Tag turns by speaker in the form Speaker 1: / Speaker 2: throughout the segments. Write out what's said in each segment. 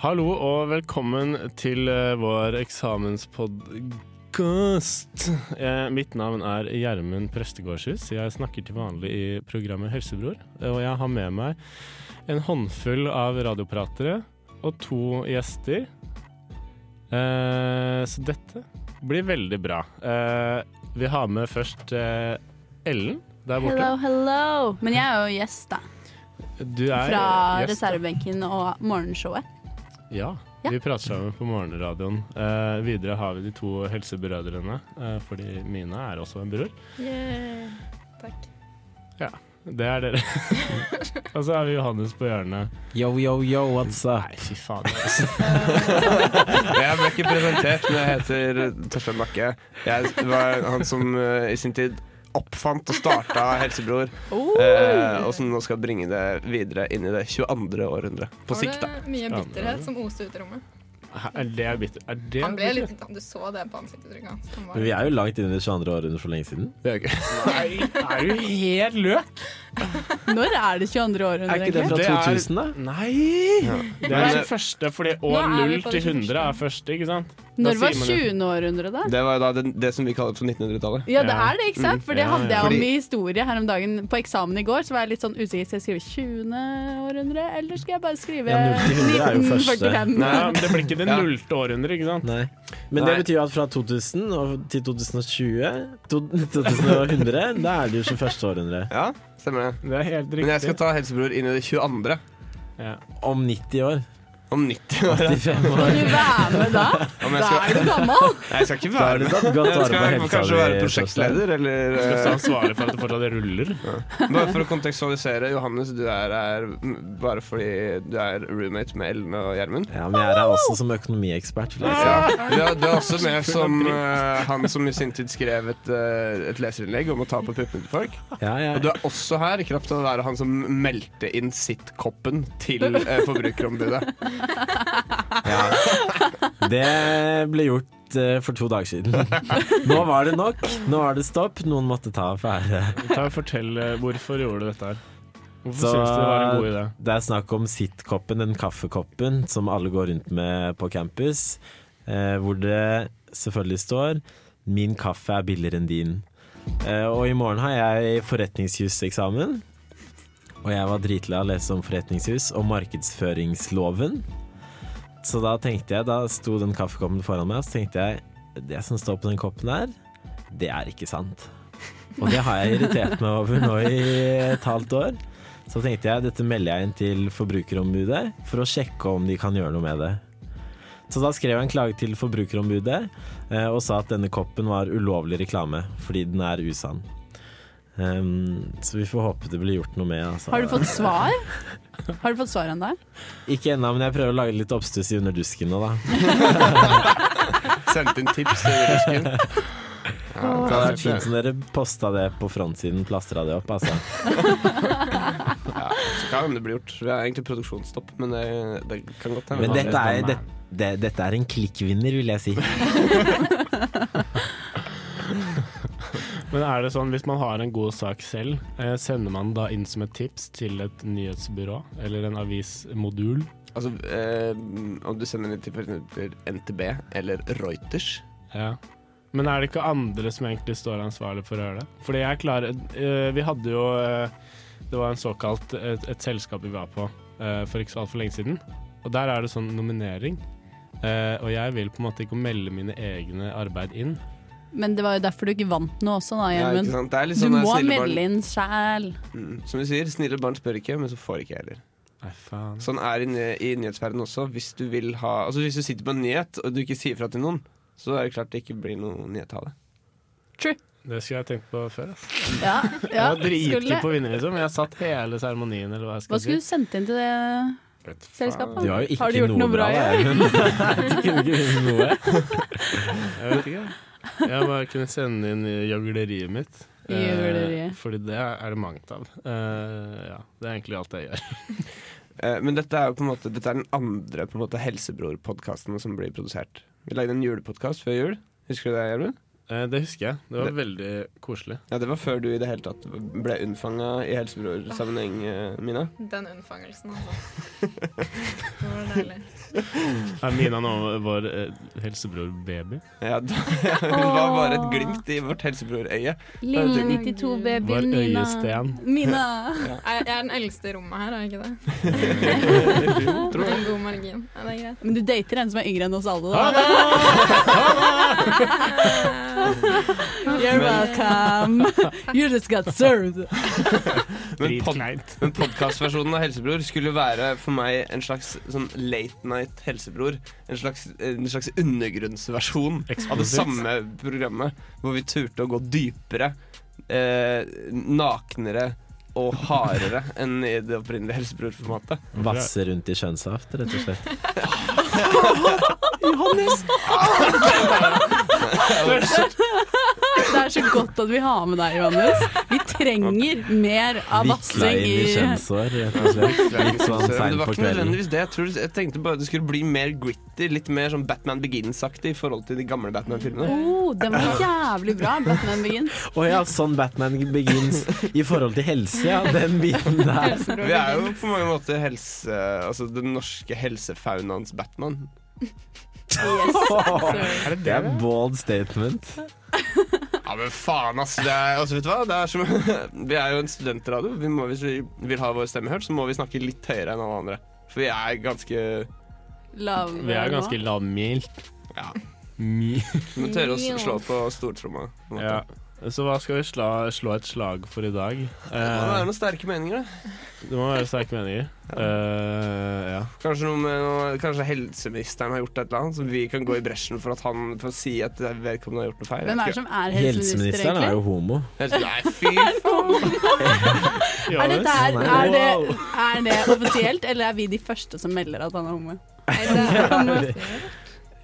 Speaker 1: Hallo og velkommen til eh, vår eksamenspodkast. Eh, Mitt navn er Gjermund Prestegårdshus. Jeg snakker til vanlig i programmet Helsebror. eh, Og jeg har med meg en håndfull av radiopratere og to gjester. Eh, Så dette blir veldig bra. Eh, Vi har med først eh, Ellen der borte.
Speaker 2: Hello, hello. Men jeg er jo gjest, da.
Speaker 1: Du er
Speaker 2: Fra
Speaker 1: gjest.
Speaker 2: reservebenken og morgenshowet.
Speaker 1: Ja,
Speaker 2: Ja.
Speaker 1: vi prater sammen på morgenradioen. Eh, videre har vi de to helsebrødrene, eh, fordi mine er også en bror.
Speaker 3: Takk.
Speaker 1: Det er dere. og så har vi Johannes på hjørnet.
Speaker 4: Yo, yo, yo, what's up?
Speaker 1: Nei, fy faen. Altså.
Speaker 5: Jeg ble ikke presentert, men jeg heter Torstein Bakke. Jeg var han som eh, i sin tid oppfant og starta Helsebror,
Speaker 2: Oh!
Speaker 5: eh, og som nå skal bringe det videre inn i det 22. århundre. På sikt, da.
Speaker 3: Var det mye bitterhet som oste ut i rommet?
Speaker 1: Er det bitter? Er det
Speaker 3: Han ble
Speaker 1: bitter?
Speaker 3: litt, du så det på ansiktsuttrykket hans. Han var-
Speaker 4: Men vi er jo langt inne i det 22. århundret for lenge siden.
Speaker 5: Det er gøy.
Speaker 1: Nei, er du helt løk?
Speaker 2: Når er det 22. århundre,
Speaker 4: Er ikke det
Speaker 2: egentlig?
Speaker 4: fra
Speaker 1: Det er-
Speaker 4: 2000, da?
Speaker 1: Nei!
Speaker 5: Ja.
Speaker 1: Det er ikke første, fordi år
Speaker 3: Nå er vi
Speaker 1: 0
Speaker 3: på det
Speaker 1: til 100 er første, ikke sant? Da
Speaker 2: Når var
Speaker 1: sier man det.
Speaker 2: 20. århundre, da?
Speaker 5: Det var jo da det, det som vi kaller for 1900-tallet.
Speaker 2: Ja, det
Speaker 1: Ja.
Speaker 2: er det, ikke sant? For det
Speaker 1: Ja,
Speaker 2: hadde
Speaker 1: ja.
Speaker 2: jeg om
Speaker 5: Fordi-
Speaker 2: i historie her om dagen. På eksamen i går så var jeg litt sånn usikker. Skal jeg skrive 20. århundre, eller skal jeg bare skrive
Speaker 4: Ja, 0 til 100 er jo første.
Speaker 2: 1945?
Speaker 1: Nei, men det blir ikke det
Speaker 5: Ja.
Speaker 1: nullte århundre, ikke sant?
Speaker 4: Nei. Men det
Speaker 5: Nei.
Speaker 4: betyr jo at fra 2000 og til 2020 to- 2100, da er det jo 21. århundre.
Speaker 5: Ja, stemmer det.
Speaker 1: Det er helt riktig.
Speaker 5: Men jeg skal ta Helsebror inn i det 22.
Speaker 1: ja.
Speaker 4: Om 90 år.
Speaker 5: om 90 år.
Speaker 4: 85 år.
Speaker 2: Kan du være med da?
Speaker 5: Om jeg
Speaker 2: Da
Speaker 5: skal,
Speaker 2: er du gammel!
Speaker 5: Nei, jeg skal ikke
Speaker 4: Da er
Speaker 5: være
Speaker 4: du
Speaker 5: med.
Speaker 4: tatt godt
Speaker 5: Jeg
Speaker 4: vare på
Speaker 5: skal
Speaker 4: helsa
Speaker 5: kanskje være
Speaker 4: di, Torstein.
Speaker 5: prosjektleder, eller
Speaker 1: Jeg skal stå
Speaker 5: eh,
Speaker 1: ansvarlig for at det fortsatt ruller.
Speaker 5: Bare for å kontekstualisere, Johannes, du er her mm, bare fordi du er roommate med Ellen og Gjermund.
Speaker 4: Ja, men jeg er her også som økonomiekspert. vil jeg si.
Speaker 5: Ja. Du, er, du er også med som eh, han som i sin tid skrev et, eh, et leserinnlegg om å ta på puppene til folk.
Speaker 4: Ja,
Speaker 5: Og du
Speaker 4: jeg,
Speaker 5: er også her i kraft av å være han som meldte inn sitkoppen til eh, Forbrukerombudet.
Speaker 4: det ble gjort eh, for to dager siden. Nå var det nok. Nå var det stopp. Noen måtte ta affære.
Speaker 1: Ta og Fortell eh, hvorfor gjorde du dette her. Hvorfor
Speaker 4: Så-
Speaker 1: synes du det var en god idé?
Speaker 4: Det er snakk om sittkoppen, den kaffekoppen som alle går rundt med på campus. Eh, hvor det selvfølgelig står 'Min kaffe er billigere enn din'. Eh, og i morgen har jeg forretningshuseksamen. Og jeg var dritlei av å lese om forretningshus og markedsføringsloven. Så da tenkte jeg, da sto den kaffekoppen foran meg, og så tenkte jeg det som står på den koppen der, det er ikke sant. Og det har jeg irritert meg over nå i et halvt år. Så tenkte jeg dette melder jeg inn til Forbrukerombudet for å sjekke om de kan gjøre noe med det. Så da skrev jeg en klage til Forbrukerombudet eh, og sa at denne koppen var ulovlig reklame fordi den er usann. Ehm, så vi får håpe det blir gjort noe med. Altså.
Speaker 2: Har du fått svar? Har du fått svar ennå?
Speaker 4: Ikke ennå, men jeg prøver å lage litt oppstuss i underdusken nå, da.
Speaker 5: Sendte inn tips til rusken. Ja,
Speaker 4: Det hadde vært
Speaker 5: det er
Speaker 4: fint om dere posta det på frontsiden, plastra det opp, altså.
Speaker 5: så kan det bli gjort. Vi har egentlig produksjonsstopp, men det, det kan godt hende.
Speaker 4: Men dette er, det, det, dette er en klikkvinner, vil jeg si.
Speaker 1: Men er det sånn, hvis man har en god sak selv, eh, sender man da inn som et tips til et nyhetsbyrå eller en avismodul?
Speaker 5: Altså, eh, om du sender den til for eksempel NTB eller Reuters
Speaker 1: Ja. Men er det ikke andre som egentlig står ansvarlig for å gjøre det? Fordi jeg klarer eh, Vi hadde jo eh, Det var en såkalt et, et selskap vi var på eh, for ikke så altfor lenge siden. Og der er det sånn nominering. Eh, og jeg vil på en måte ikke melde mine egne arbeid inn.
Speaker 2: Men det var jo derfor du ikke vant noe også, da,
Speaker 5: Ja, ikke
Speaker 2: Gjermund.
Speaker 5: sant? Det er litt
Speaker 2: Du
Speaker 5: sånn
Speaker 2: må
Speaker 5: der snille barn-
Speaker 2: melde inn sjæl.
Speaker 5: Mm. Som du sier, snille barn spør ikke, men så får ikke jeg heller.
Speaker 1: Nei, faen.
Speaker 5: Sånn er det i, i nyhetsverdenen også. Hvis du, vil ha, altså hvis du sitter på en nyhet og du ikke sier fra til noen, så er det klart det ikke blir noen nyhet av det.
Speaker 1: Det skulle jeg tenkt på før. ass.
Speaker 2: Ja, ja,
Speaker 1: jeg var dritgod
Speaker 2: skulle-
Speaker 1: på å vinne, liksom. Jeg satt hele seremonien, eller hva jeg
Speaker 2: Hva
Speaker 1: skal
Speaker 2: skulle
Speaker 1: si.
Speaker 2: du sendt inn til det selskapet?
Speaker 4: Du har jo ikke
Speaker 2: Har du gjort noe bra,
Speaker 4: da,
Speaker 2: ja?
Speaker 4: Gjermund. Du kunne ikke gjort noe.
Speaker 1: Jeg vet ikke. Jeg bare kunne sende inn gjøgleriet mitt. Eh,
Speaker 2: Gjøgleriet.
Speaker 1: Fordi det er det mangt av. Eh, ja, det er egentlig alt jeg gjør.
Speaker 5: Eh, men dette er jo på en måte Dette er den andre på en måte Helsebror-podkasten som blir produsert. Vi lagde en julepodkast før jul. Husker du det, Gjermund?
Speaker 1: Eh, det husker jeg. Det var veldig koselig.
Speaker 5: Ja, Det var før du i det hele tatt ble unnfanga i helsebror-sammenheng, eh, Mina.
Speaker 3: Den unnfangelsen, altså. Det var deilig.
Speaker 1: Er Mina nå vår eh, helsebror baby?
Speaker 5: Ja, da, hun var bare et glimt i vårt helsebrorøye.
Speaker 2: Lille
Speaker 5: Herregud.
Speaker 2: 92-babyen
Speaker 1: Vår
Speaker 2: Mina.
Speaker 1: øyesten.
Speaker 2: Mina.
Speaker 3: Jeg jeg er den eldste i rommet her, er jeg ikke det?
Speaker 5: Tror jeg.
Speaker 3: En god margin. Ja, det er greit.
Speaker 2: Men du dater en som er yngre enn oss alle,
Speaker 1: Ha
Speaker 2: da. You're welcome. You just got served.
Speaker 5: Men pod-
Speaker 1: Dritkleint.
Speaker 5: Men podkastversjonen av Helsebror skulle være for meg en slags sånn late night helsebror. En slags, en slags undergrunnsversjon av det
Speaker 1: Eksplosivt.
Speaker 5: samme programmet, hvor vi turte å gå dypere, eh, naknere og hardere enn i det opprinnelige Helsebror-formatet.
Speaker 4: Vasse rundt i kjønnssaft, rett og slett.
Speaker 2: Det er så godt at vi har med deg, Johannes. Vi trenger mer av
Speaker 4: Vikla
Speaker 2: vassing
Speaker 4: inn i
Speaker 2: i
Speaker 4: kjønnsår, rett og slett. Litt
Speaker 5: Så
Speaker 4: sånn
Speaker 5: Det
Speaker 4: seint
Speaker 5: var
Speaker 4: på
Speaker 5: ikke
Speaker 4: kvelden.
Speaker 5: nødvendigvis det. Jeg, tror, jeg tenkte bare det skulle bli mer gritty, litt mer sånn Batman Begins-aktig i forhold til de gamle Batman-filmene.
Speaker 2: Oh, den var jævlig bra, Batman Begins.
Speaker 4: Å ja, sånn Batman Begins i forhold til helse, ja. Den biten der.
Speaker 3: Helsebror.
Speaker 5: Vi er jo på mange måter helse, altså den norske helsefaunaens Batman.
Speaker 1: Er det
Speaker 4: Det
Speaker 1: det?
Speaker 4: er bold statement.
Speaker 5: Ja, men faen, ass. Det er, altså, vet du hva? Det er som, vi er jo en studentradio. Vi må, hvis vi vil ha vår stemme hørt, så må vi snakke litt høyere enn alle andre. For vi er ganske
Speaker 2: Lav
Speaker 1: Vi er ganske lavmælt.
Speaker 5: Ja.
Speaker 1: Mi-
Speaker 5: Vi må tørre å s- slå på stortromma. på en måte.
Speaker 1: Ja. Så hva skal vi slå, slå et slag for i dag?
Speaker 5: Det må
Speaker 1: Eh,
Speaker 5: være noen sterke meninger, da.
Speaker 1: det må være sterke meninger. Eh, ja.
Speaker 5: Kanskje, noe med, noe- kanskje helseministeren har gjort et eller annet som vi kan gå i bresjen for at han for å si at vedkommende har gjort noe feil.
Speaker 2: Hvem er det som er helseminister,
Speaker 4: Helseministeren er
Speaker 2: egentlig?
Speaker 4: jo homo.
Speaker 5: Helse- Nei, fy faen!
Speaker 2: Er, dette her,
Speaker 4: Johannes?
Speaker 2: er, det, er det offisielt, eller er vi de første som melder at han er homo?
Speaker 3: Nei, det er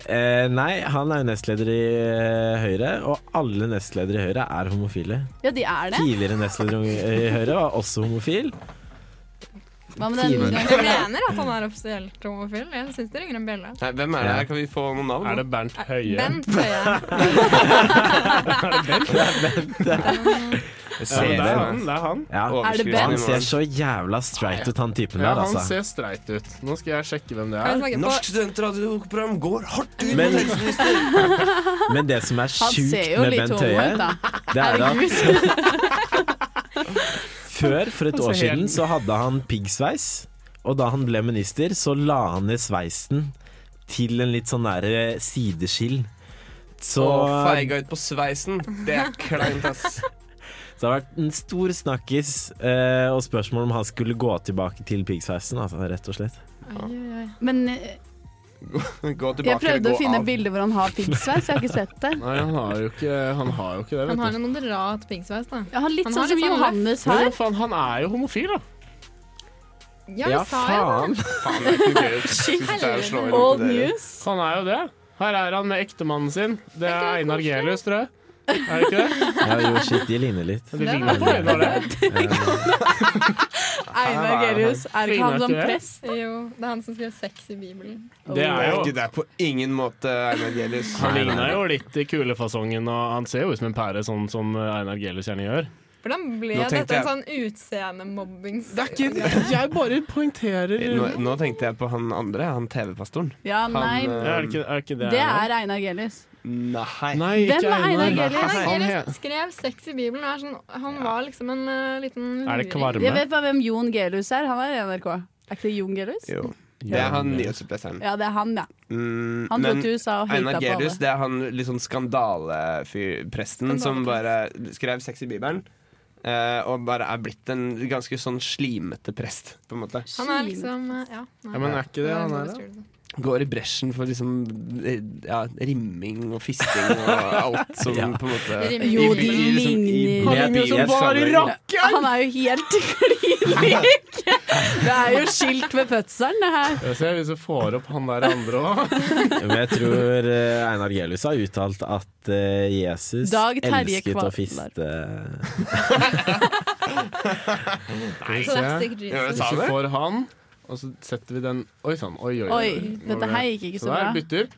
Speaker 4: Eh, nei, han er jo nestleder i eh, Høyre, og alle nestledere i Høyre er homofile.
Speaker 2: Ja, de er det.
Speaker 4: Tidligere nestleder i Høyre var også homofil.
Speaker 2: Hva med den
Speaker 4: Fine.
Speaker 3: Jeg mener at han er offisielt homofil. Jeg syns det ringer en bjelle.
Speaker 5: Nei, hvem er det her? Kan vi få noen navn?
Speaker 1: Er det Bernt Høie?
Speaker 3: Bent Høie.
Speaker 4: Jeg
Speaker 1: Ja,
Speaker 4: ser
Speaker 1: men det er
Speaker 4: det.
Speaker 1: han. Det er han.
Speaker 4: Ja,
Speaker 2: Er det
Speaker 4: han
Speaker 2: Ben?
Speaker 4: ser så jævla straight ut, han typen
Speaker 1: Ja,
Speaker 4: der,
Speaker 1: han
Speaker 4: altså.
Speaker 1: ser streit ut. Nå skal jeg sjekke hvem det
Speaker 3: Kan vi
Speaker 1: er.
Speaker 3: snakke på
Speaker 5: Norsk studentradioprogram går hardt ut
Speaker 4: Men-
Speaker 5: mot helseminister!
Speaker 4: Men det som er
Speaker 2: Han ser
Speaker 4: sjukt
Speaker 2: jo
Speaker 4: med
Speaker 2: litt
Speaker 4: Bent
Speaker 2: homo ut,
Speaker 4: Høie,
Speaker 2: da.
Speaker 4: det er at
Speaker 2: Herregud.
Speaker 4: Før, for et
Speaker 1: Altså,
Speaker 4: år siden,
Speaker 1: helt-
Speaker 4: så hadde han piggsveis, og da han ble minister, så la han ned sveisen til en litt sånn nære sideskill. Så,
Speaker 5: Og
Speaker 4: så
Speaker 5: feiga ut på sveisen. Det er kleint, ass.
Speaker 4: det har vært en stor snakkis eh, og spørsmål om han skulle gå tilbake til piggsveisen, altså, rett og slett.
Speaker 2: Men eh,
Speaker 5: Gå
Speaker 2: jeg
Speaker 5: tilbake
Speaker 2: prøvde å
Speaker 5: eller gå
Speaker 2: finne
Speaker 5: av.
Speaker 2: bilder hvor han har piggsveis, jeg har ikke sett det.
Speaker 1: Nei, han har jo ikke, han har jo ikke det,
Speaker 3: Han har
Speaker 1: vet du.
Speaker 3: en moderat piggsveis, da.
Speaker 2: Ja, han er litt
Speaker 3: Han
Speaker 2: sånn
Speaker 3: har
Speaker 2: som
Speaker 3: litt sånn
Speaker 2: Johannes
Speaker 1: Men
Speaker 2: her.
Speaker 1: hva faen, han er jo homofil, da.
Speaker 3: Ja, jeg sa jo det.
Speaker 5: Faen, det er ikke noe gøy. Jeg synes det er å slå inn på
Speaker 2: Old
Speaker 5: dere.
Speaker 2: news.
Speaker 1: Han er jo det. Her er han med ektemannen sin. Det er Einar Gelius, tror jeg. Er det ikke det?
Speaker 4: Ja, jo, shit, de ligner litt.
Speaker 1: De ligner på Einar, det.
Speaker 2: Einar Gelius. Er ikke han som prest?
Speaker 3: Jo, det er han som skrev sex i Bibelen.
Speaker 1: Det
Speaker 5: Det
Speaker 1: er
Speaker 5: er
Speaker 1: jo
Speaker 5: ikke det på ingen måte Einar Gelius.
Speaker 1: Han ligner jo litt i kulefasongen, og han ser jo ut som en pære, sånn som Einar Gelius gjerne gjør.
Speaker 3: Hvordan ble
Speaker 5: Nå tenkte
Speaker 3: dette en sånn utseendemobbings...
Speaker 1: Jeg bare poengterer
Speaker 5: Nå, nå tenkte jeg på han andre, han TV-pastoren.
Speaker 2: Ja, nei.
Speaker 5: Han, eh,
Speaker 1: Er det ikke er det, ikke det
Speaker 2: Det er Einar Gelius.
Speaker 5: Nei.
Speaker 1: Nei,
Speaker 2: Hvem
Speaker 1: ikke
Speaker 2: er Einar Gelius?
Speaker 1: Han he-
Speaker 3: Gelius skrev sex i Bibelen. og er sånn, han var liksom en eh, liten
Speaker 1: Er det
Speaker 3: luring.
Speaker 2: Jeg
Speaker 1: kvarme?
Speaker 2: vet bare hvem Jon Gelius er. Han er i NRK. Er ikke det Jon Gelius?
Speaker 5: Jo. Det er han nyhetsoppleseren.
Speaker 2: Ja, det er han, ja.
Speaker 5: Mm,
Speaker 2: Han dro
Speaker 5: men-
Speaker 2: til USA og høyta på
Speaker 5: Einar
Speaker 2: alle.
Speaker 5: Gelius, det er han litt sånn skandalepresten som bare skrev sex i Bibelen. eh, og bare er blitt en ganske sånn slimete prest, på en måte.
Speaker 3: Han er liksom eh, Ja, nei.
Speaker 1: Ja, men er ikke det han er, da?
Speaker 5: Går i bresjen for liksom eh, ja, rimming og fisting og alt som
Speaker 4: Ja.
Speaker 5: på en måte
Speaker 3: Rimming.
Speaker 2: Jo, de
Speaker 5: liksom
Speaker 2: ligner.
Speaker 1: Han ligner jo som bare rock!
Speaker 2: Han er jo helt klin lik! Det er jo skilt ved fødselen, det her.
Speaker 1: Jeg ser hvis du får opp han der andre òg.
Speaker 4: Men jeg tror eh, Einar Gelius har uttalt at eh, Jesus
Speaker 2: Dag Terje
Speaker 4: elsket å
Speaker 2: Kvaler.
Speaker 4: fiste
Speaker 1: Hvis
Speaker 3: Classic
Speaker 5: Ja,
Speaker 3: Jesus.
Speaker 5: sa
Speaker 1: du
Speaker 5: det?
Speaker 1: får han, og så setter vi den Oi sann, oi, oi.
Speaker 2: Oi, dette her gikk ikke
Speaker 1: Så
Speaker 2: så
Speaker 1: der
Speaker 2: bra.
Speaker 1: bytter.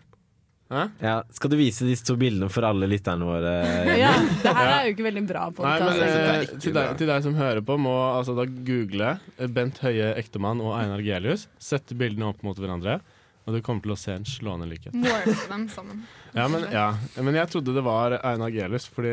Speaker 4: ja, Skal du vise disse to bildene for alle lytterne våre?
Speaker 2: Ja, det her er jo ikke veldig bra altså.
Speaker 1: Nei, men
Speaker 2: podkast.
Speaker 1: eh,
Speaker 5: ikke
Speaker 1: til,
Speaker 5: bra.
Speaker 1: deg, til deg som hører på, må altså eh, da google Bent Høie ektemann og Einar Gelius. Sette bildene opp mot hverandre. Og du kommer til å se en slående likhet.
Speaker 3: Morfe dem sammen.
Speaker 1: Ja men, ja, men jeg trodde det var Einar Gelius, fordi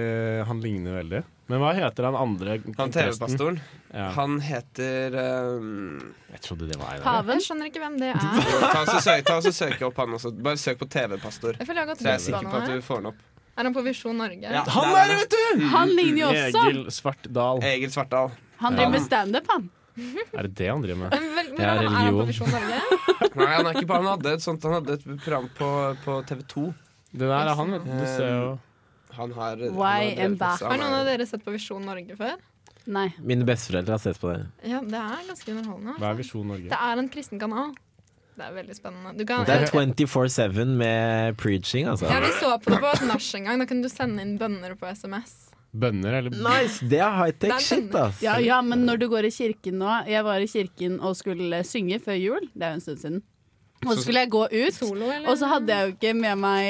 Speaker 1: han ligner veldig. Men hva heter han andre?
Speaker 5: Han TV-pastoren,
Speaker 1: Ja.
Speaker 5: han heter ehm,
Speaker 1: Jeg trodde det var Einar.
Speaker 2: Paven?
Speaker 3: Jeg skjønner ikke hvem det er.
Speaker 5: ta, og så søk, ta og så søk opp han også. Bare søk på TV-pastor.
Speaker 3: Jeg føler jeg har gått
Speaker 5: Så jeg er
Speaker 3: glipp av
Speaker 5: sikker på
Speaker 3: noe
Speaker 5: at
Speaker 3: her.
Speaker 5: du får han opp.
Speaker 3: Er han på Visjon Norge?
Speaker 5: Ja,
Speaker 4: Han
Speaker 5: der
Speaker 4: er det,
Speaker 5: vet du!
Speaker 2: Han ligner jo også!
Speaker 1: Egil Svartdal.
Speaker 5: Egil Svartdal.
Speaker 2: Han driver med standup, han.
Speaker 1: Er det det han driver med?
Speaker 3: Men vel, men
Speaker 4: Jeg er
Speaker 3: er, han på
Speaker 4: religion.
Speaker 3: Visjon Norge?
Speaker 5: Nei, han er ikke på Han hadde et sånt Han hadde et program på, på TV2.
Speaker 1: Det der er han, vet du. Du ser jo
Speaker 5: Han har han
Speaker 2: Why
Speaker 5: har drevet
Speaker 2: and
Speaker 5: masse.
Speaker 3: Har noen
Speaker 5: Han
Speaker 3: av
Speaker 5: er-
Speaker 3: dere sett på Visjon Norge før?
Speaker 2: Nei.
Speaker 4: Mine besteforeldre har sett på det.
Speaker 3: Ja, det er ganske underholdende. altså.
Speaker 1: Hva er Visjon Norge?
Speaker 3: Det er en kristen kanal. Det er veldig spennende. Du kan,
Speaker 4: Det er 24-7 med preaching, altså.
Speaker 3: ja, vi så på det på et nach en gang. Da kunne du sende inn bønner på SMS.
Speaker 1: Bønner, eller?
Speaker 4: Nice! Det er
Speaker 3: Det er
Speaker 4: high-tech shit, altså. ass.
Speaker 2: Ja, ja, men når du går i kirken nå Jeg var i kirken og skulle synge før jul. Det er jo en stund siden. Og så skulle jeg gå ut,
Speaker 3: Solo, eller?
Speaker 2: og så hadde jeg jo ikke med meg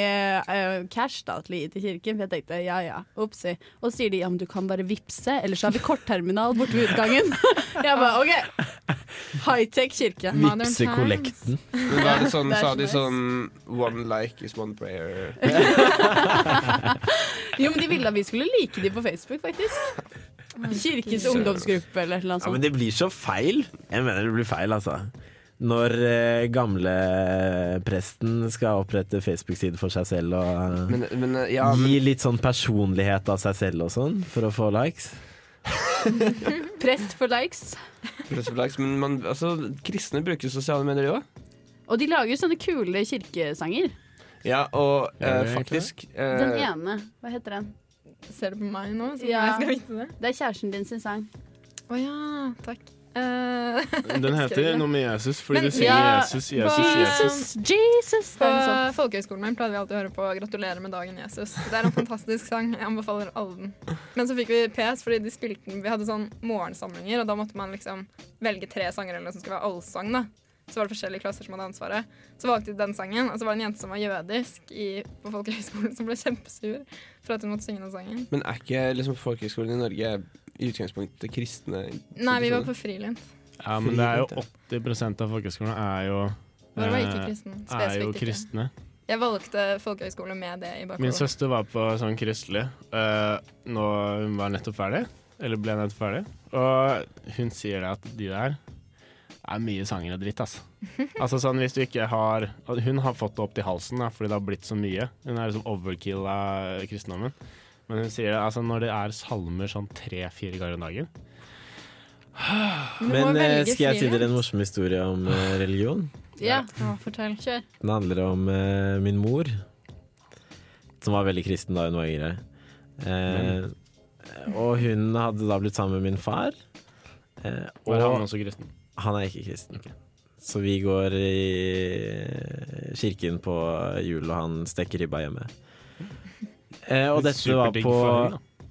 Speaker 2: eh, cash da til å gi til kirken. For jeg tenkte ja ja, opsi. Og så sier de ja, men du kan bare vippse, ellers har vi kortterminal borte ved utgangen. jeg bare OK. High-tech kirke.
Speaker 3: Modern Times.
Speaker 4: Vipsekollekten.
Speaker 5: Men var det sånn,
Speaker 2: Det er
Speaker 5: sa
Speaker 2: så
Speaker 5: de
Speaker 2: nice.
Speaker 5: sånn One like is one prayer.
Speaker 2: Jo, men de ville at vi skulle like de på Facebook, faktisk. Kirkens ungdomsgruppe eller noe
Speaker 3: sånn.
Speaker 4: Ja, men
Speaker 2: sånt.
Speaker 4: det blir så feil. Jeg mener det blir feil, altså. Når eh, gamlepresten skal opprette Facebook-side for seg selv og
Speaker 5: Men, men eh, ja, men
Speaker 4: gi litt sånn personlighet av seg selv og sånn, for å få likes.
Speaker 2: Prest for likes.
Speaker 5: Presseflaks, Men man, altså, kristne bruker sosiale medier, de òg.
Speaker 2: Og de lager jo sånne kule kirkesanger.
Speaker 5: Ja, og
Speaker 1: Gjør
Speaker 5: eh,
Speaker 1: de egentlig
Speaker 5: faktisk
Speaker 2: Den
Speaker 5: eh,
Speaker 2: ene, hva heter den?
Speaker 3: Ser du på meg nå? Så
Speaker 2: Ja.
Speaker 3: jeg skal vite det.
Speaker 2: Det er kjæresten din sin sang.
Speaker 3: Å ja, takk. Eh,
Speaker 1: Den heter noe med Jesus, fordi
Speaker 3: Men-
Speaker 1: du synger
Speaker 2: Ja,
Speaker 1: Jesus, Jesus,
Speaker 3: hva-
Speaker 1: Jesus.
Speaker 2: Jesus!
Speaker 3: på folkehøyskolen min pleide vi alltid å høre på 'Gratulerer med dagen, Jesus'. Det er en fantastisk sang. Jeg anbefaler alle den. Men så fikk vi PS fordi de spilte den Vi hadde sånn morgensamlinger, og da måtte man liksom velge tre sanger eller noe som skulle være allsang, da. Så var det forskjellige klasser som hadde ansvaret. Så valgte de den sangen, og så var det en jente som var jødisk i, på folkehøyskolen som ble kjempesur for at hun måtte synge den sangen.
Speaker 5: Men er ikke liksom, folkehøgskolen i Norge i utgangspunktet kristne?
Speaker 3: Nei, vi var på frilint.
Speaker 1: Ja, men det er jo 80 av folkehøyskolene er jo
Speaker 3: Våre var ikke
Speaker 1: eh,
Speaker 3: kristen.
Speaker 1: er jo
Speaker 3: Spesifikt ikke.
Speaker 1: kristne.
Speaker 3: Jeg valgte folkehøyskole med det i
Speaker 1: Min
Speaker 3: bakhodet.
Speaker 1: søster var på sånn kristelig eh, nå hun var nettopp ferdig, eller ble nettopp ferdig, og hun sier det at de der er mye sanger og dritt, altså. Altså sånn hvis du ikke har og Hun har fått det opp til halsen da, fordi det har blitt så mye. Hun er liksom overkill av kristendommen. Men hun sier det, altså når det er salmer sånn tre-fire ganger om dagen
Speaker 3: Du må
Speaker 4: Men eh,
Speaker 3: velge
Speaker 4: skal jeg si
Speaker 3: frilint.
Speaker 4: dere en morsom historie om eh, religion?
Speaker 2: Ja,
Speaker 3: Ja, fortell.
Speaker 2: kjør.
Speaker 4: Den handler om eh, min mor, som var veldig kristen da hun var yngre. Eh, og hun hadde da blitt sammen med min far. Eh,
Speaker 1: Var han også kristen?
Speaker 4: Han er ikke kristen. Så vi går i kirken på jul, og han steker ribba hjemme. Eh, og dette var,
Speaker 1: Superdigg
Speaker 4: på,
Speaker 1: for hun, da.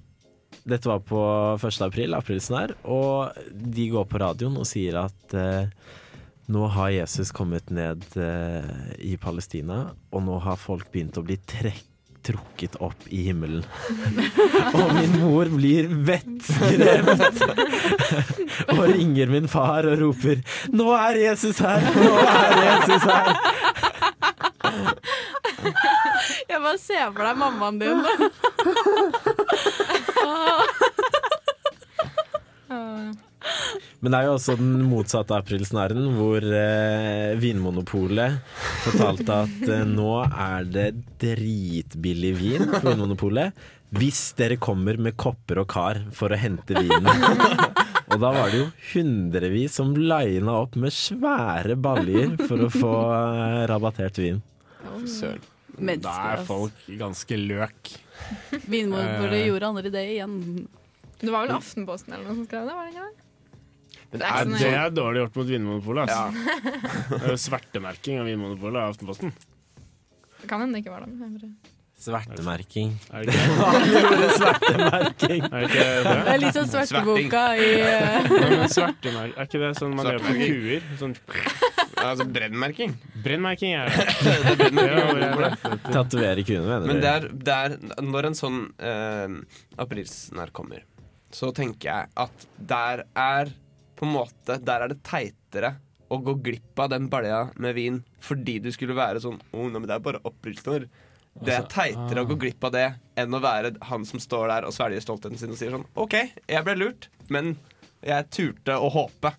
Speaker 4: dette var på 1. april, aprilsnarr, og de går på radioen og sier at eh, nå har Jesus kommet ned eh, i Palestina, og nå har folk begynt å bli trekk, trukket opp i himmelen. og min mor blir vettskremt og ringer min far og roper 'Nå er Jesus her! Nå er Jesus her!'
Speaker 2: Jeg bare ser for deg mammaen din.
Speaker 3: Åh.
Speaker 4: Men det er jo også den motsatte aprilsnarren, hvor eh, Vinmonopolet fortalte at eh, nå er det dritbillig vin på Vinmonopolet hvis dere kommer med kopper og kar for å hente vinen. Og da var det jo hundrevis som lina opp med svære baljer for å få eh, rabattert vin.
Speaker 5: Fy Søren.
Speaker 1: Da er folk ganske løk.
Speaker 5: Eh.
Speaker 2: Vinmonopolet gjorde aldri det igjen.
Speaker 3: Det var vel Aftenposten eller noe som skrev det? var det ikke det?
Speaker 5: Men
Speaker 3: Det
Speaker 5: er
Speaker 3: er
Speaker 1: Nei,
Speaker 3: ikke
Speaker 1: det
Speaker 3: sånn-
Speaker 1: er dårlig gjort mot Vinmonopolet.
Speaker 5: ja.
Speaker 1: Altså. Det er jo Svertemerking av Vinmonopolet er Aftenposten.
Speaker 3: Det kan hende det ikke var det. men jeg bare-
Speaker 4: Svertemerking.
Speaker 1: Er det ikke,
Speaker 4: Svertemerking.
Speaker 1: er det ikke
Speaker 2: Det
Speaker 1: bra?
Speaker 2: er litt sånn svarteboka i eh,
Speaker 1: Nei, men svertemerk, er ikke det sånn man gjør på
Speaker 5: Svartemerking.
Speaker 1: kuer? Sånn
Speaker 5: Altså brennmerking.
Speaker 1: brennmerking er det. Det er jo
Speaker 5: brennmerking.
Speaker 1: hvor jeg-
Speaker 4: Tatovere kuene, mener
Speaker 5: Men
Speaker 4: du?
Speaker 5: det er, det er Når en sånn eh, aprilsnarr kommer, så tenker jeg at der er på en måte Der er det teitere å gå glipp av den balja med vin fordi du skulle være sånn oh, nei, men det er bare opprykksnår. Det er
Speaker 1: Altså,
Speaker 5: teitere å
Speaker 1: ah.
Speaker 5: gå glipp av det enn å være han som står der og svelger stoltheten sin og sier sånn OK, jeg ble lurt, men jeg turte å håpe.